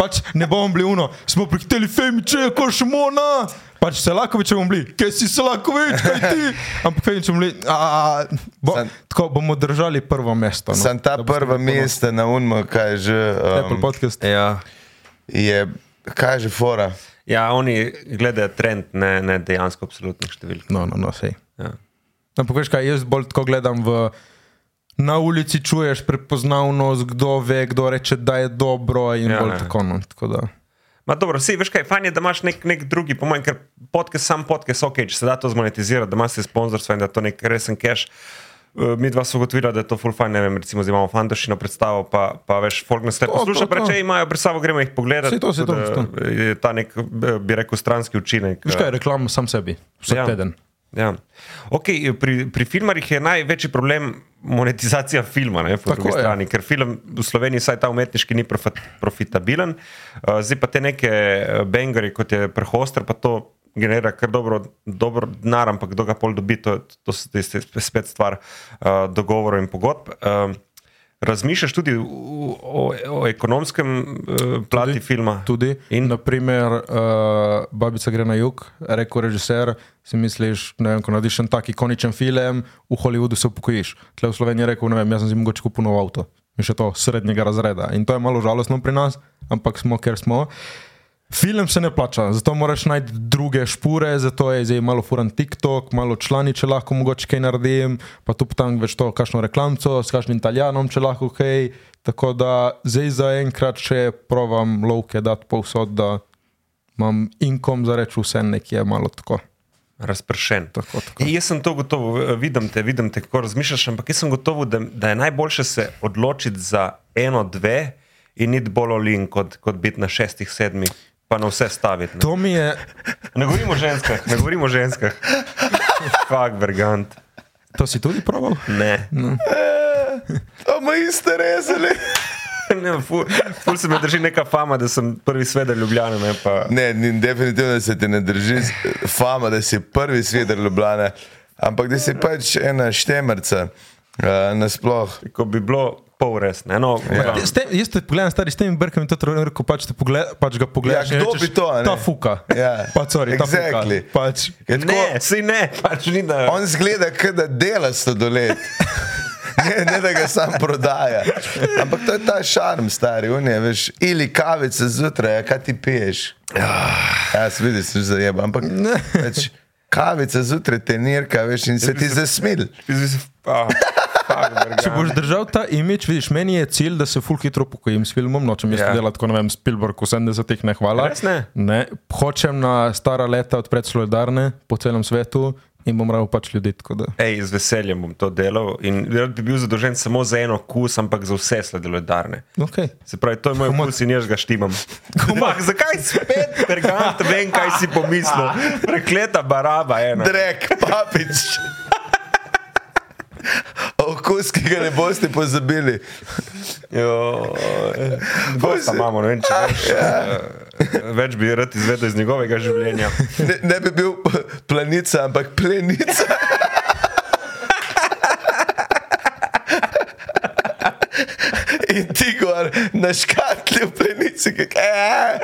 C: Pač ne bomo bili uno, smo prehiteli Femiče, košmona. Pač Selakovič bomo bili, kaj si Selakovič, kaj
D: *laughs*
C: ti. Ampak Femiče bomo bili, a, bo,
D: Sam-
C: tako bomo držali prvo mesto. No.
D: Sam ta
C: Da boste
D: prva
C: ponosni.
D: mesta na unmo, kaj je že.
C: Apple
D: Um,
C: podcast.
F: Ja.
D: je, kaj je že fora?
F: ja, oni gledajo trend, ne, ne dejansko absolutnih številk.
C: No, no, no, sej.
F: Ja.
C: Ampak veš kaj, jaz bolj tako gledam v. Na ulici čuješ prepoznavnost, kdo ve, kdo reče, da je dobro, in
F: Ja,
C: ja, bolj
F: ja.
C: tako. No, tako da.
F: Ma dobro, si, veš kaj, fajn je, da imaš nek, nek drugi, po mojem, ker podcast, sam podcast, ok, če se da to zmonetizirati, da imaš se sponzorstvo in da je to nek resen cash. Eh, Mi dva smo ugotovila, da je to full fajn, ne vem, recimo, zdaj imamo fantošino predstavo, pa, pa veš, folk nas lepo
C: To, to,
F: posluša, pa
C: to.
F: če imajo predstavo, gremo jih pogledat.
C: Saj to, saj
F: tako
C: to,
F: da Je ta nek, eh, bi rekel, stranski učinek.
C: Veš
F: eh,
C: kaj, reklam sam sebi, vsak ja. teden.
F: Ja. Okay, pri, pri filmarjih je največji problem monetizacija filma, ne, po
C: Tako
F: drugi
C: je.
F: strani, ker film v Sloveniji, vsaj ta umetniški, ni profit, profitabilen. Uh, zdaj pa te neke bangere, kot je prehoster, pa to generira kar dobro, dobro denar, ampak kdo ga pol dobi, to, to so zdaj spe- spet stvar uh, dogovorov in pogodb. Um, Razmišljaš tudi v- o, o ekonomskem uh, plati filma?
C: Tudi, in naprimer, uh, Babica gre na jug, rekel režiser, si misliš, ne vem, ko narediš en tak ikoničen film, v Hollywoodu se upokojiš. Tle v Sloveniji je rekel, ne vem, jaz sem si mogoče kupil nov avto, in še to srednjega razreda. In to je malo žalostno pri nas, ampak smo, ker smo. Film se ne plača, zato moraš najti druge špore, zato je zdaj malo furan TikTok, malo člani, če lahko mogoče kaj naredim, pa tu pa tam več to, kakšno reklamco, s kakšnim italijanom, če lahko kaj. Tako da zdaj zaenkrat še provam lovke dati povsod, da imam inkom za reči vse nekje malo tako.
F: Razpršen.
C: Tako, tako.
F: E, Jaz sem to gotovo, eh, vidim te, vidim te, kako razmišljaš, ampak jaz sem gotovo, da, da je najboljše se odločiti za eno, dve in iti bolj olin, kot, kot biti na šestih, sedmih, pa na vse staviti. Ne,
C: To mi je,
F: ne govorimo o ženskah, ne govorimo o ženskah. *laughs* Fak, vergant.
C: to si tudi proval?
F: Ne,
C: No.
D: To ima iste rezali.
F: *laughs* ne ful, ful se me drži neka fama, da sem prvi sveder Ljubljana, ne pa.
D: Ne, ni- definitivno se ti ne drži z- fama, da si prvi sveder Ljubljana, ampak da si pač ena štemrca. Uh, nasploh.
F: Ko bi bilo pol res, ne, no,
D: Ja.
F: verjamem.
C: S Tem, jaz te pogledam, stari s temi brkami, to je rekel, pač, te pogled, pač ga pogledaš.
D: Ja,
C: in
D: kdo
C: rečeš,
D: bi to, a ne?
C: Ta fuka.
D: Ja.
C: Pa, sorry,
D: Exactly.
C: ta fuka. Pač,
D: Je tako-
F: Ne, si ne, pač ni da.
D: On zgleda, kot da dela stodolet. *laughs* Ne, ne, da ga sam prodaja. Ampak to je ta šarm, stari, unije, veš, ili kavice zjutraj, a kaj ti piješ. Ja, se vidiš, se zajeba. Ampak več, kavice zjutraj te nirka, veš, in se ti zasmil.
F: Ah, fuck,
C: Če
F: verjamem.
C: boš držal ta imič, vidiš, meni je cilj, da se full hitro pokojim s filmom, nočem jaz
F: Ja.
C: yeah. delati tako, ne vem, Spielberg v 70-ih, ne hvala.
F: Res ne?
C: ne? Hočem na stara leta odpreti solidarne po celem svetu in bom rabil pač ljudi. tako da.
F: Ej, z veseljem bom to delal in rad bi bil zadolžen samo za eno kus, ampak za vse sladoledarne.
C: Okay.
F: Se pravi, to je moj okus in jaz ga štimam. Komah, *laughs* zakaj spet pergant, vem, kaj si pomislil. Prekleta baraba ena.
D: Drek, papič. Okus, ki ga ne boste pozabili.
F: Bosta imamo, ne vem, če več,
D: Ja.
F: eh, več bi rad izvedel iz njegovega življenja.
D: Ne, ne bi bil planica, ampak plenica. ti gor na škatli v plenici, ki "Eh,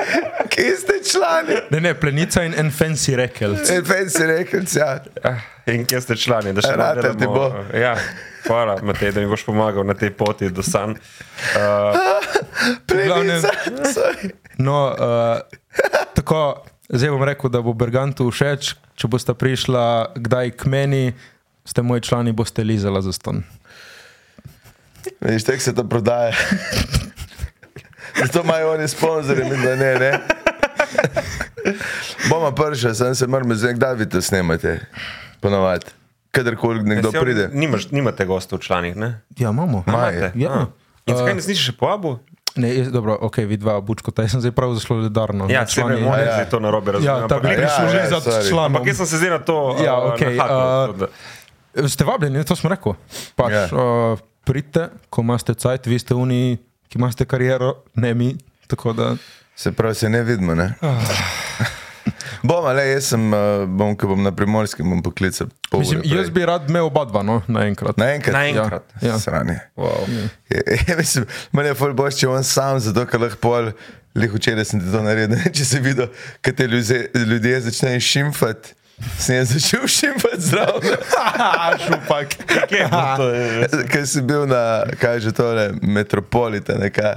D: kje ste člani.
C: Ne, ne, plenica in en fancy *laughs* rekel.
D: En fen E, si rekel, ja.
F: In kje ste člani, da še
D: Ratal
F: delamo-
D: ti bo.
F: Ja, hvala, Matej, da mi boš pomagal na tej poti do sanj.
D: Plenica.
C: No, uh, tako, zdaj bom rekel, da bo Bergantu všeč. Če boste prišla kdaj k meni, ste moji člani, boste lizala za ston.
D: Veš, tek se to prodaja. Zato imajo oni sponzorje, mi da ne, ne. Bomo prša, sem se mrmel, zdaj kdaj vi to snemate, ponovadi. Kadarkoli nekdo
F: Saj on-
D: pride.
F: Nimaš, nimate gostov članih, ne?
C: Ja, imamo.
D: Maj.
F: Imate?
C: ja.
F: A. In zakaj nas nisi še povabil?
C: Ne, jaz, dobro, ok, vidva, bučko, taj sem zdaj prav zelo ledarno.
F: Ja,
C: Med
F: če ne,
C: člani-
F: moram
D: ja.
F: reči, to narobe razumem.
C: Ja, ta
F: ampak-
C: bi
D: Ja,
C: šel že
D: ja,
C: za
D: sorry.
C: članom.
F: Ampak jaz sem se zdaj na to.
C: Ja,
F: eh,
C: okej,
F: nahaknil,
C: eh,
F: tako da-
C: Ste vabljeni, to smo rekli. Pač,
D: Ja.
C: yeah. uh, pridite, ko imate cajt, vi ste uniji, ki imate kariero, ne mi. Tako da
D: Se pravi, se ne vidimo. Ne?
C: Ah.
D: bom, ali jaz sem, eh, bom, ko bom na primorskem, bom poklical. pol ure
C: Mislim, jaz
D: prej.
C: bi rad imel oba dva, no, naenkrat.
D: Naenkrat.
F: Naenkrat.
C: Ja.
D: Sranje.
C: Wow.
D: *laughs* Ja, mislim, meni je ful boš, če on sam, zato ker lahko pol, lih včeraj sem ti to naredil, če si videl, kaj te ljudje, ljudje začnejo šimfati. Sem jaz začel *laughs* šimfati zraven. *laughs* Šupak.
F: Kje je bilo to? eh,
D: Ker si bil na, kaj že tole, metropolita neka.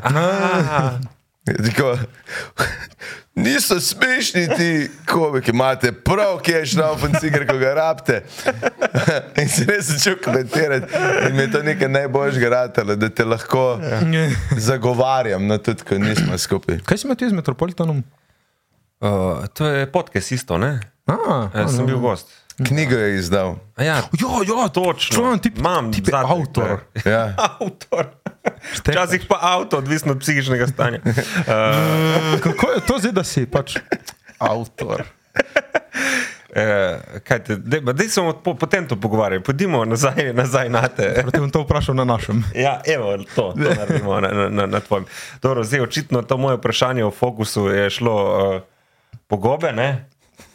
D: Je Tako, *laughs* niso smešni ti komiki, imate prav, ki je šnaufen cigar, ko ga rabite. *laughs* In se res začel komentirati. In mi je to nekaj najboljšega ratalo, da te lahko
C: Ja.
D: zagovarjam, no tudi, ko nismo skupaj.
C: Kaj si imel ti z Metropolitanom?
F: Eh, To je podcast isto, ne?
C: Ah,
F: Eh, Sem bil gost.
D: Knjigo je izdal.
F: A Ja,
C: Ja, ja,
F: točno.
C: Član, ti,
F: Imam
C: ti je
F: zadnje,
C: avtor.
F: to je.
D: Ja.
F: *laughs* Avtor. Včasih pa avto, odvisno od psihičnega stanja. Eh,
C: Kako je to zdaj, da si pač avtor?
F: Eh, kaj te, dej, ma dej se bomo po, potem to pogovarjali, pojdimo nazaj, nazaj na te.
C: Te bom to vprašal na našem.
F: Ja, evo, to, to naredimo na, na- na, na tvojem. Dobro, zdaj očitno to moje vprašanje o fokusu je šlo uh, pogobe, ne?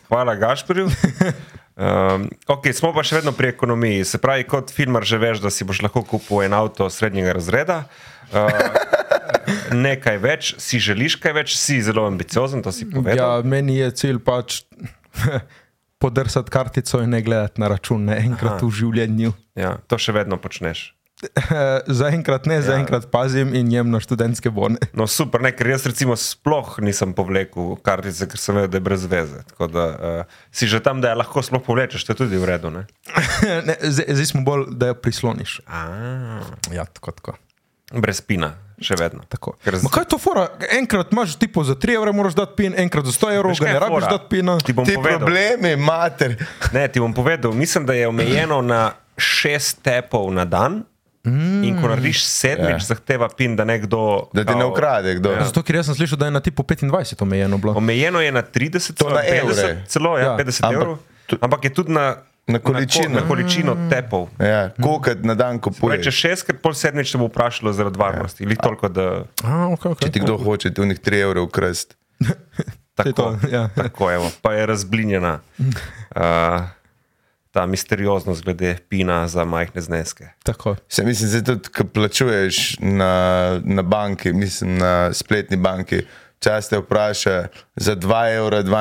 F: Hvala Gašpriju. Um, ok, smo pa še vedno pri ekonomiji. Se pravi, kot filmar že veš, da si boš lahko kupil en avto srednjega razreda. Uh, *laughs* nekaj več, si želiš kaj več, si zelo ambiciozen, to si povedal.
C: Ja, meni je cilj pač *laughs* podrsati kartico in ne gledati na račun naenkrat v življenju. *laughs*
F: Ja, ja, to še vedno počneš.
C: zaenkrat ne, ja. zaenkrat pazim in jem na študentske bone. *laughs*
F: No, super, ne, ker jaz recimo sploh nisem povlekel kartice, ker sem vedel, da je brez veze. Tako da uh, si že tam, da je lahko sploh povlečeš, to je tudi v redu. Ne?
C: ne, zdaj, zdaj smo bolj, da jo prisloniš.
F: A,
C: Ja, tako, tako.
F: brez pina, še vedno.
C: tako.
F: Ker z-
C: Ma kaj je to fora? Enkrat imaš tipo za 3 evre, moraš dati pin, enkrat za 100 evrov,
F: Veš,
C: ga
F: kaj
C: ne
F: je
C: rabiš
F: fora?
C: dati pina.
F: Ti bom
D: Ti
F: povedal.
D: problemi, mater.
F: Ne, ti bom povedal, mislim, da je omejeno na šest tepov na dan. Mm. In ko narediš sedmič, ja. zahteva pin, da nekdo.
D: Da ti ne
F: kao,
D: ukrade kdo.
F: Ja.
C: Zato, ker jaz sem slišal, da je na tipo 25 omejeno bilo.
F: Omejeno je na 30, celo
D: na
F: 50,
D: evre.
F: celo
C: Ja,
F: ja, 50
D: ampak
F: evrov, ampak je tudi na,
D: Na
F: ko-
D: količino.
F: na količino
C: Mm.
F: tepov.
D: Ja, kolikrat na dan kupuješ?
F: Reče šestkrat, pol sedmič te bo vprašalo zaradi varnosti. Ali toliko, da
C: A, okay, okay.
D: Če ti kdo hoče, ti v njih 3 evre ukrasti.
F: tako,
C: to, ja.
F: tako evo, pa je razblinjena uh, ta misterioznost glede pina za majhne zneske.
C: Tako.
D: Se mislim, da tudi, ko plačuješ na, na banki, mislim na spletni banki, čas te vpraša za 2,32 evra,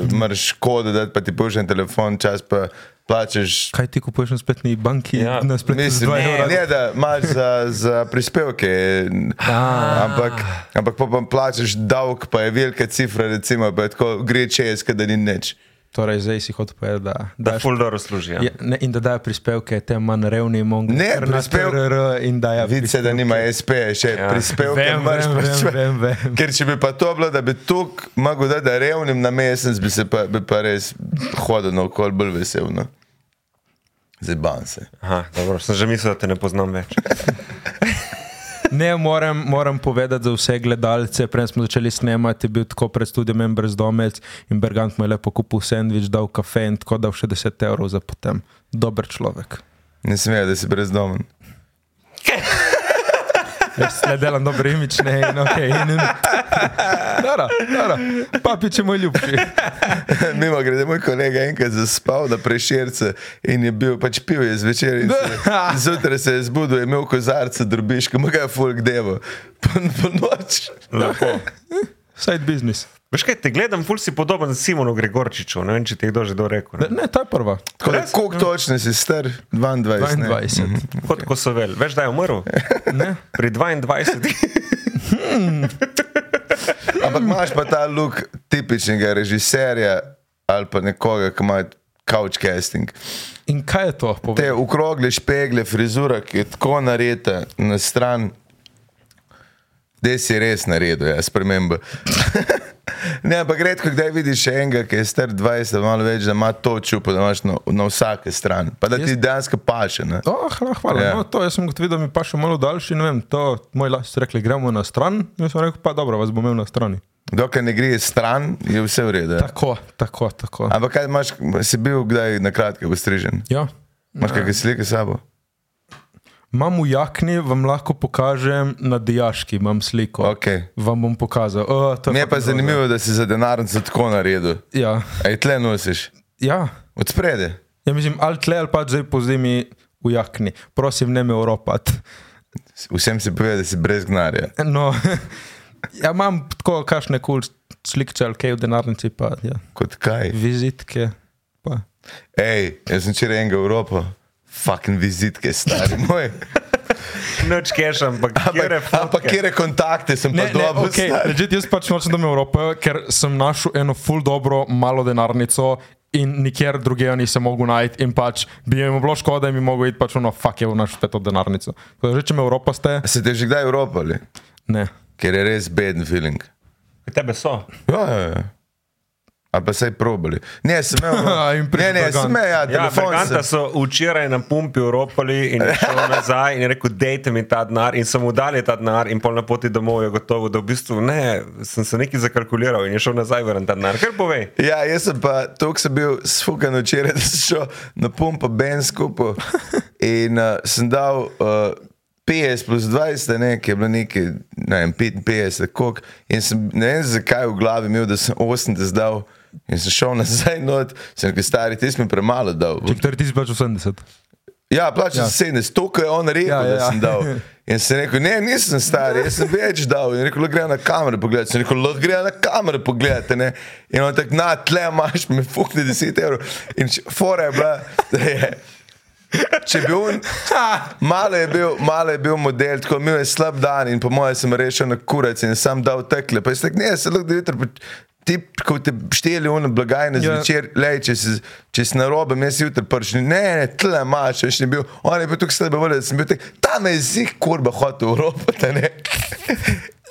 D: uh, mrš škodo, da pa ti pošljem telefon, čas pa plačeš.
C: Kaj ti kupuješ na spletni banki?
F: Ja,
C: Ja, na spletni
D: Mislim,
C: banki.
D: ne, ne, da imaš za, za prispevke, ampak, ampak pa, pa plačeš davek, pa je velika cifra, recimo, pa je tako gre čez, da ni nič.
C: Torej, zdaj si hotel povedati, da,
F: Da,
C: daš-
F: fuldo služi. Ja.
C: Ja, ne, in da dajo prispevke tem manj revnim, mogoče
D: Ne, prispev-
C: in da je
D: Vidiš, da nima SP, še ja. prispevke,
C: Vem,
D: moraš
C: vem, vem,
D: plačevati.
C: vem, vem.
D: Ker če bi pa to bilo, da bi tu mogel dati, da revnim na mesec, bi se pa, bi pa res hodil naokol bolj veselno. Zeban se.
F: Aha, dobro, sem že mislil, da te ne poznam več.
C: Ne, moram, moram povedati za vse gledalce. Prej smo začeli snemati, je bil tako pred studijem en brezdomec in Bergant mu je lepo kupil sendvič, dal kafe in tako dal še 10 evrov za potem. Dober človek.
D: Ne smejo, da si brezdomen.
C: Jaz le delam dobre imične in ok. In, in. Dara, dara. Papič je moj ljubši.
D: *laughs* Mimo grede, moj kolega je enkrat zaspal na preširce in je bil pač pil je zvečer. in se- Zjutraj se je zbudil, je imel kozarce, drobiš, kam ga je folk devo. *laughs* Po, po noč.
F: Lepo.
C: Side business.
F: Veš kaj, te gledam, ful si podoben Simonu Gregorčiču, ne vem, če ti je kdo že kdo rekel. Ne?
C: Ne, ta je prva.
D: Tako da, Koliko točno si star? 22. ne?
C: 22.
D: Mhm.
F: Kot ko so vel. Veš, da je umrl?
C: Ne.
F: Pri 22.
D: Ampak imaš pa ta luk tipičnega režiserja ali pa nekoga, ki ima couch casting.
C: In kaj je to? Povej.
D: Te ukrogle špegle, frizura, ki je tako narejena na stran. Zdaj si res naredil, ja, sprememba. *laughs* ne, ampak redko kdaj vidiš še enega, ki je star 20, malo več, da ima to čupo, da imaš na, na vsake strani. Pa da ti dejansko paše. ne.
C: Oh, hvala, hvala.
D: Ja.
C: Yeah. No, to, jaz sem kot videl, mi pa še malo daljši. Ne vem, to moj las so rekli, gremo na stran. Jaz sem rekel, pa dobro, vas bom imel na strani.
D: Dokler ne gre stran, je vse v redu. ja.
C: Tako, tako, tako.
D: Ampak kaj imaš, si bil kdaj na kratko postrižen?
C: Ja.
D: Imaš kakšne slike s sabo?
C: Imam v jakni, vam lahko pokažem na dijaški, imam sliko.
D: Okej.
C: Vam bom pokazal. O, to
D: Mi je pa
C: fucking groza.
D: zanimivo, da si za denarnico tako naredil.
C: Ja.
D: Aj tle nosiš,
C: ja.
D: od sprede.
C: Ja, mislim, ali tle ali pač zdaj po zimi v jakni. Prosim, ne me oropat.
D: Vsem si pove, da si brez gnara.
C: *laughs* No, *laughs* ja, imam tako kašne kul cool slike ali kaj v denarnici, pa ja.
D: Kot kaj?
C: vizitke. Pa.
D: Hej, jaz sem včeraj enega v Evropo, fucking vizitke, stari
C: *laughs*
D: moj.
F: Noč keš, ampak kjere
D: Ampak, ampak
F: fotke.
D: kjere kontakte sem pa
C: Ne, ne,
D: dobil?
C: okay,
D: stari?
C: legit, jaz pač nočem, da me Evropa, ker sem našel eno full dobro, malo denarnico in nikjer drugega nisem mogel najti in pač bi jim bilo škoda, da bi mogel iti pač ono, fuck je v našo peto denarnico. Tako da že, če me Evropa ste,
D: A Se te je že kdaj Evropali,
C: ne.
D: ker je res beden feeling.
F: Tebe so.
D: Ja, ja, ja. Ali pa saj probali. Ne, sem
C: *laughs*
D: imel. no.
C: In
D: Ne,
C: prišel
D: ne,
C: Bergant.
D: sem imel, ja,
F: Ja,
D: telefon.
F: Freganta
D: sem-
F: so včeraj na pumpi uropali in je šel nazaj in je rekel, dejte mi ta denar in sem mu dal ta denar in pol na poti domov je gotovo, da v bistvu ne, sem se nekaj zakalkuliral in je šel nazaj vrn ta denar. Kar povej.
D: Ja, jaz sem pa tako sem bil sfukan včeraj, *laughs* da sem šel na pompo Ben skupaj in uh, sem dal uh, 50 plus 20, ne, ki je bilo nekaj, ne vem, 55, kok. In sem ne vem zakaj v glavi imel, da sem 80 dal in sem šel nazaj not, sem rekel, stari, ti si mi premalo dal. bom
C: 4080.
D: Ja, plačal
C: Ja.
D: sem 17, to, kar je on rekel,
C: Ja, ja,
D: ja, ja. da sem
C: ja.
D: dal. In sem rekel, ne, nisem star, jaz sem več dal. In je rekel, gre na kamere pogled. Sem rekel, lahko gre na kamere pogled. Ne? In on tak, na tle imaš, mi fukne 10 evrov. In če- fora je bila, da je. Če bi on, malo je bil, malo je bil model, tako imel je slab dan in po mojem sem rešil na kurac in sam dal tekle. Pa je rekel, ne, se lahko da jutri. po- Ti, ko te šteli v blagajne
C: Ja.
D: zvečer, lej, če si, če si na robe, jaz jutri pršni, ne, ne, tle imaš, še ni bil, on je bil tukaj slabo voljen, sem bil tek, ta me jezik, kurba, hotel v robo, ta ne.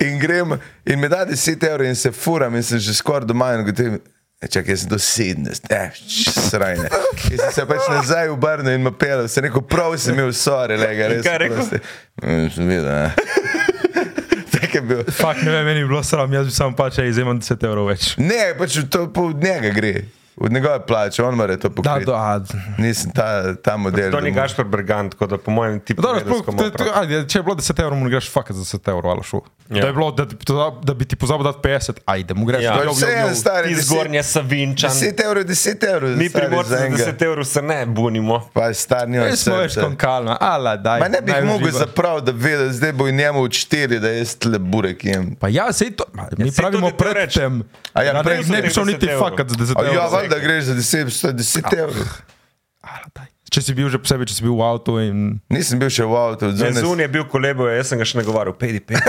D: In grem, in mi da 10 evrov in se furam in sem že skoraj doma in gotovim, "E, čakaj, jaz sem do 17, ne, srajne. In sem se pač nazaj obrnil in me pelil, sem rekel, prav sem imel sore, lega, res.
F: kaj je rekel?
D: prosti. Mm, Sem videl, ne. *laughs* Tako je bil.
C: Fak, ne vem, meni je bilo sram, jaz bi sam pač izjemen 10 evrov več.
D: Ne, pač to pa od njega gre. Od njegove plače, on mora to
C: Da,
D: pokrit.
C: do, a,
D: Nisem ta, ta model.
F: To ni
D: da mu-
F: Gašpor Bergant, tako da po mojem ti
C: Dobro,
F: povedal, s
C: sploh,
F: kom
C: to,
F: ima
C: to,
F: prav.
C: ajde, če je bilo 10 evrov, mu greš fakt za 10 evrov, ali šlo.
F: Ja.
C: Ja. Da, je bilo, da, bi ti pozabil- da bi ti pozabil dati 50, ajde, mu greš.
F: Ja.
C: Jo, jo,
D: To je
C: jo,
D: vse
C: jo.
D: en stari.
F: Iz Gornja Savinčan.
D: 10 evrov, 10 evrov.
F: Mi
D: stari,
F: pri morcu
D: za enega.
F: 10 evrov se ne bunimo.
D: Pa je star, njo
C: Res smo več konkalna, ala daj.
D: Ma ne bi
C: naj
D: jih mogel
C: uživa.
D: zapraviti, da ve, da zdaj bo njemu odšteli, da jaz tle burek jem.
C: Pa ja, sej to, ma, mi ja,
F: saj
C: pravimo
F: tudi to
C: pred
F: rečem.
C: tem.
D: A ja,
C: Na
D: prej
C: ne,
D: so
C: ne bi šel
F: rekli
C: niti
F: 10 evrov.
C: fakat za 10
D: A ja,
C: evrov.
D: valjda greš za 10, sto
F: Ah.
D: 10 evrov.
C: Ala, daj. Če si bil že posebej, če si bil v avtu in...
D: Nisem bil še v avtu,
F: Ne, Zun
D: zunaj.
F: je bil kolebo, jaz sem ga še nagovarjal, pedi,
D: *laughs*
F: pedi.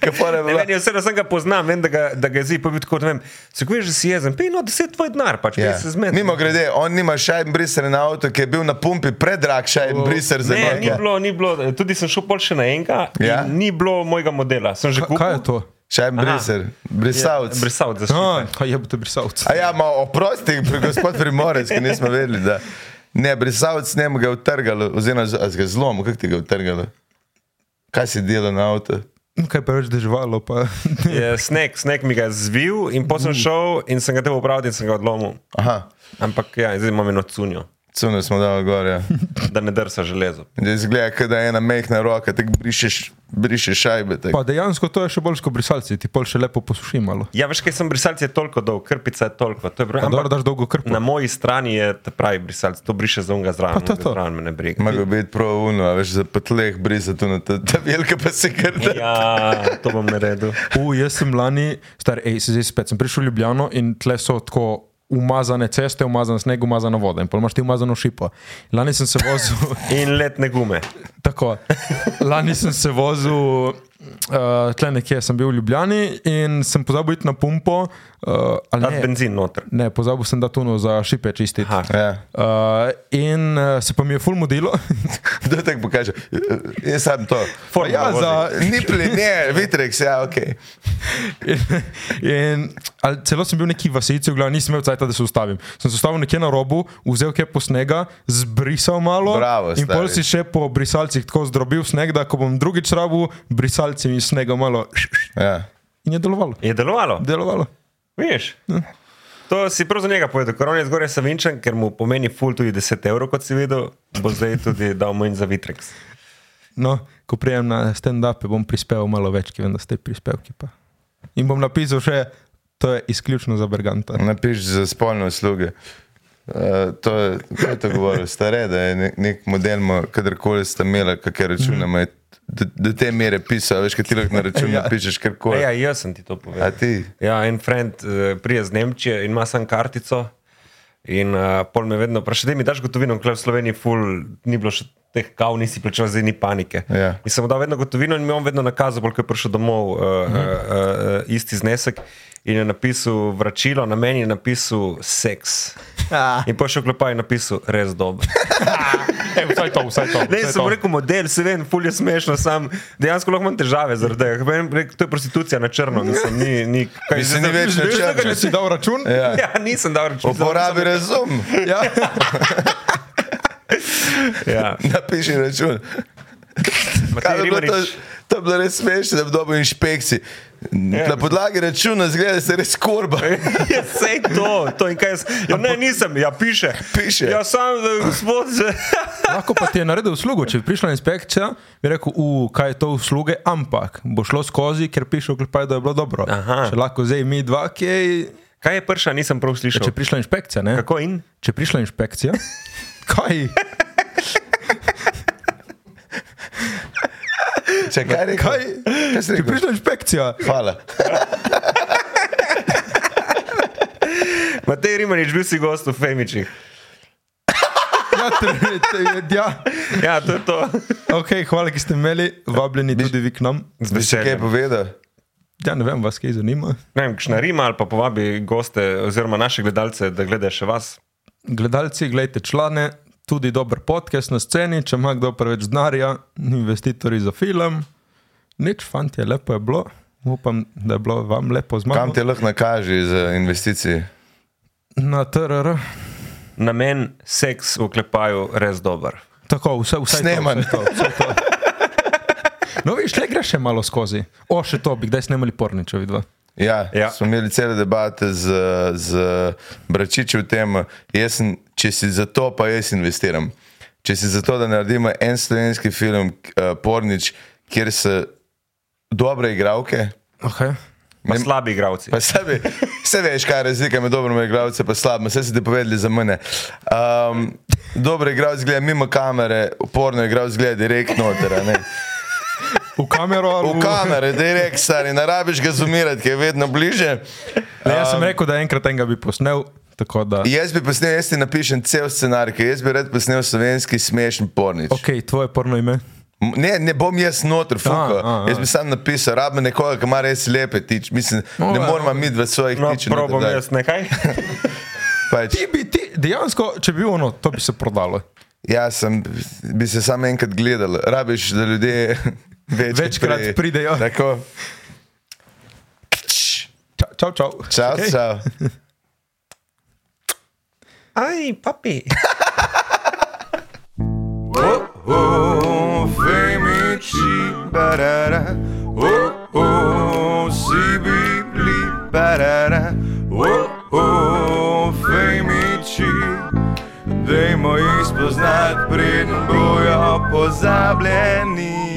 D: Kapora je
F: Ne,
D: bila.
F: meni je vse, da sem ga poznam, vem, da ga, da ga jezi, pa bi tako, ne vem, se kveš, že si jezen, pej, no, deset tvoj denar, pač, pej
D: Ja.
F: se zmeti.
D: Mimo grede, on nima šajn briser na avtu, ki je bil na pumpi predrag šajn briser za
F: Oh, Ne, ni
D: njega.
F: bilo, ni bilo, tudi sem šel pol še na enega,
D: Ja.
F: ja. ni bilo mojega modela, sem že
C: Ka-
F: kupil.
C: Kaj je to?
D: Šajn briser, brisavc.
F: Brisavc
C: *laughs*
F: za šlo.
C: No, kaj je bo te brisavc?
D: A ja, ma oprosti, pri- gospod Primorec, ki nismo vedeli, da ne, brisavc ne bi ga utrgalo, oziroma z- a z ga zlomil, kako ti ga je utrgalo? Kaj si delal na avtu?
C: Kaj preveč deževalo, pa...
F: Sneg, sneg mi ga je
C: Mm.
F: zvil in potem sem šel in sem ga te upravil in sem ga odlomil.
D: Aha.
F: Ampak ja, zdaj imam eno cunjo.
D: Cune smo dali gor. Ja.
F: da ne drsa železo.
D: Zdaj Izgleda, kot da je ena mehna roka, tako brišeš, brišeš šajbe. tako.
C: *laughs* Pa dejansko to je še bolj kot brisalci, ti pol še lepo posuši malo.
F: Ja, veš, kaj sem brisalci je toliko dolg, krpica je toliko. To je
C: Pa
F: prav,
C: dobro, daš dolgo krpo.
F: na moji strani je ta pravi brisalc, to briše za unga zraven.
C: Pa to je to.
F: Zraven me ne briga.
D: Mogo biti pravno, veš, za petleh brisati, no, ta, ta velika pa se krta.
F: Ja, to bom naredil.
C: U, jaz sem lani, star, ej, se zdaj spet sem prišel v Ljubljano in tle so tako umazane ceste, umazan sneg, umazana voda in pol imaš ti umazano šipo. Lani sem se vozil,
F: In letne gume.
C: tako, lani sem se vozil, uh, tle nekje sem bil v Ljubljani in sem pozabil iti na pumpo, uh, ali
F: Dati
C: ne,
F: benzin noter.
C: ne, pozabil sem da tuno za šipe čistiti.
F: Aha.
D: Ja.
C: Uh, in uh, se pa mi je ful mudilo, *laughs*
D: Kdo tako pokaže? E, Jaz sam to.
F: Formula
D: ja,
F: vozi.
D: za nipli, ne, vitreks, ja, ok.
C: In, in, ali celo sem bil neki vasici, v glavu nisem imel cajt, da se ustavim. Sem se ustavil nekje na robu, vzel kepo snega, zbrisal malo.
D: Bravo,
C: in pol
D: stari.
C: si še po brisalcih tako zdrobil sneg, da ko bom drugič rabu, brisalci mi snega malo. š- š-
D: Ja.
C: In je delovalo.
F: Je delovalo.
C: Delovalo.
F: Viš? To si prav za njega povedal, ker on je zgoraj savinčen, ker mu pomeni ful tudi 10 evrov, kot si videl, bo zdaj tudi dal manj za Vitrex.
C: No, ko prijem na stand-up, bom prispeval malo več, ki vem, da ste prispevki. Pa. In bom napisal še, to je izključno za Berganta.
D: Napiš za spolne usluge. Uh, to je, kaj je to govoril, stare, da je nek, nek model, mo- kadarkoli ste imeli, kakšne račune, mm. do, do te mere pisal, veš, kaj ti lahko na račun
C: Ja.
D: napišeš,
F: E,
D: karkoli.
F: ja, jaz sem ti to
D: A
F: povedal.
D: ti?
F: Ja, en friend eh, prije iz Nemčije in ima sam kartico. In uh, pol me vedno vpraša, da mi daš gotovino, ker v Sloveniji ful, ni bilo še teh kav, nisi plačal, zdaj ni panike.
D: Ja.
F: In sem mu dal vedno gotovino in mi je on vedno nakazal, bolj ko je prišel domov, uh, uh, uh, isti znesek. In je napisal vračilo, na meni je napisal seks. In pa še oklepaj je napisal res dobro.
C: E, vsaj to, vsaj to.
F: *laughs* Ne, sem rekel model, se vem, ful je smešno, sam dejansko lahko imam težave zaradi tega. Meni rekel, To je prostitucija na črno, mislim, ni, ni kaj
D: Mislim, ni več na
C: Že
D: črno.
C: tega si dal *laughs* račun?
D: Ja.
F: *laughs* Ja, nisem dal reči.
D: Uporabi razum,
C: Ja.
F: Ja.
D: *laughs* napiši račun.
F: Matej
D: Kaj je bilo To,
F: Ribarič,
D: to je bilo res smešno, da bi dobil inšpekcij. Na podlagi računa zgleda, da se res korba.
F: *laughs* Ja, sej to, to in kaj jaz. Ja, ne, nisem, ja, piše.
D: Piše.
F: Ja, sam, eh, gospod, z- *laughs*
C: Lahko pa ti je naredil uslugo, če bi prišla inšpekcija, bi rekel, "U, kaj je to usluge, ampak bo šlo skozi, ker piše v klepaju, da je bilo dobro.
F: Aha.
C: Če lahko zdaj mi dva, ki je.
F: kaj je prša, nisem prav
C: Ja, če
F: slišal.
C: je prišla inšpekcija, ne?
F: Kako in?
C: Če je prišla
F: *laughs*
C: inšpekcija, kaj?
D: Če kaj reče,
C: Kaj?
D: Kaj si
C: Če je
D: rekel?
C: prišla inšpekcija,
D: Hvala.
F: Matej Rimanič, bil si gost v Femičih.
C: ja, te, te, ja.
F: Ja, to je to.
C: Okay, hvala, ki ste imeli, vabljeni tudi vi k nam.
F: Z
D: Bi si kaj
F: veseljem.
D: povedal?
C: Ja, ne vem, vas kaj zanima.
F: Ne vem, kšna rima ali pa povabi goste oziroma naše gledalce, da gledajo še vas.
C: Gledalci, gledajte člane, tudi dober podcast na sceni, če ima kdo preveč denarja, investitorji za film. Nič, fantje, lepo je bilo. Upam, da je bilo vam lepo
D: Kam
C: zmago.
D: te lahko nakaži za investicije?
C: Na TRR,
F: Namen seks v klepaju res dober.
C: tako, vse vse.
D: Sneman. *laughs*
C: No, viš, le greš še malo skozi. O, še to bi kdaj snemali porniče, vidva.
D: Ja, ja.
F: Ja.
D: Smo imeli cele debate z, z Bračičem o tem, jaz sem, če si za to, pa jaz investiram. Če si za to, da naredimo en slovenski film, uh, Pornič, kjer se dobre igravke,
C: Okay.
F: Pa slabi igravci.
D: pa *laughs* sebi, vse veš, kaj je razlika med dobrimi igravci in slabimi, vse ste povedali za mene. Um, dobre igravce gleda mimo kamere, porno igravce gleda direktno noter. a ne.
C: V kamero ali
D: V kamere, direkt stari, ne rabiš ga zumirati, ki je vedno bliže.
C: Le, jaz sem rekel, da enkrat enega bi posnel, tako da.
D: Jaz bi posnel, jaz ti napišem cel scenarij, ker jaz bi rad posnel slovenski smešen pornič. Okay.
C: Ok, tvoje porno ime.
D: Ne, ne bom jaz noter, fuko.
C: a, a.
D: Jaz bi sam napisal, rabim nekoga, ki ima res lepe tič. Mislim,
C: No,
D: ne
C: ja,
D: moramo mi dva svojih
F: No,
D: tič.
F: probam jaz nekaj.
D: Pač,
C: Ti bi, ti, dejansko, če bi bilo ono, to bi se prodalo.
D: jaz ja, sem, bi se samo enkrat gledal, rabiš, da ljudje *laughs* večkrat,
C: Večkrat pridejo.
D: Tako,
C: Čau, čau. čau.
D: čau, okay. čau.
F: Aj, papi.
D: Oh, femiči, barara, oh, oh, si bi bili, barara, oh, oh, femiči, dajmo jim. poznat, pridem bojo pozabljeni.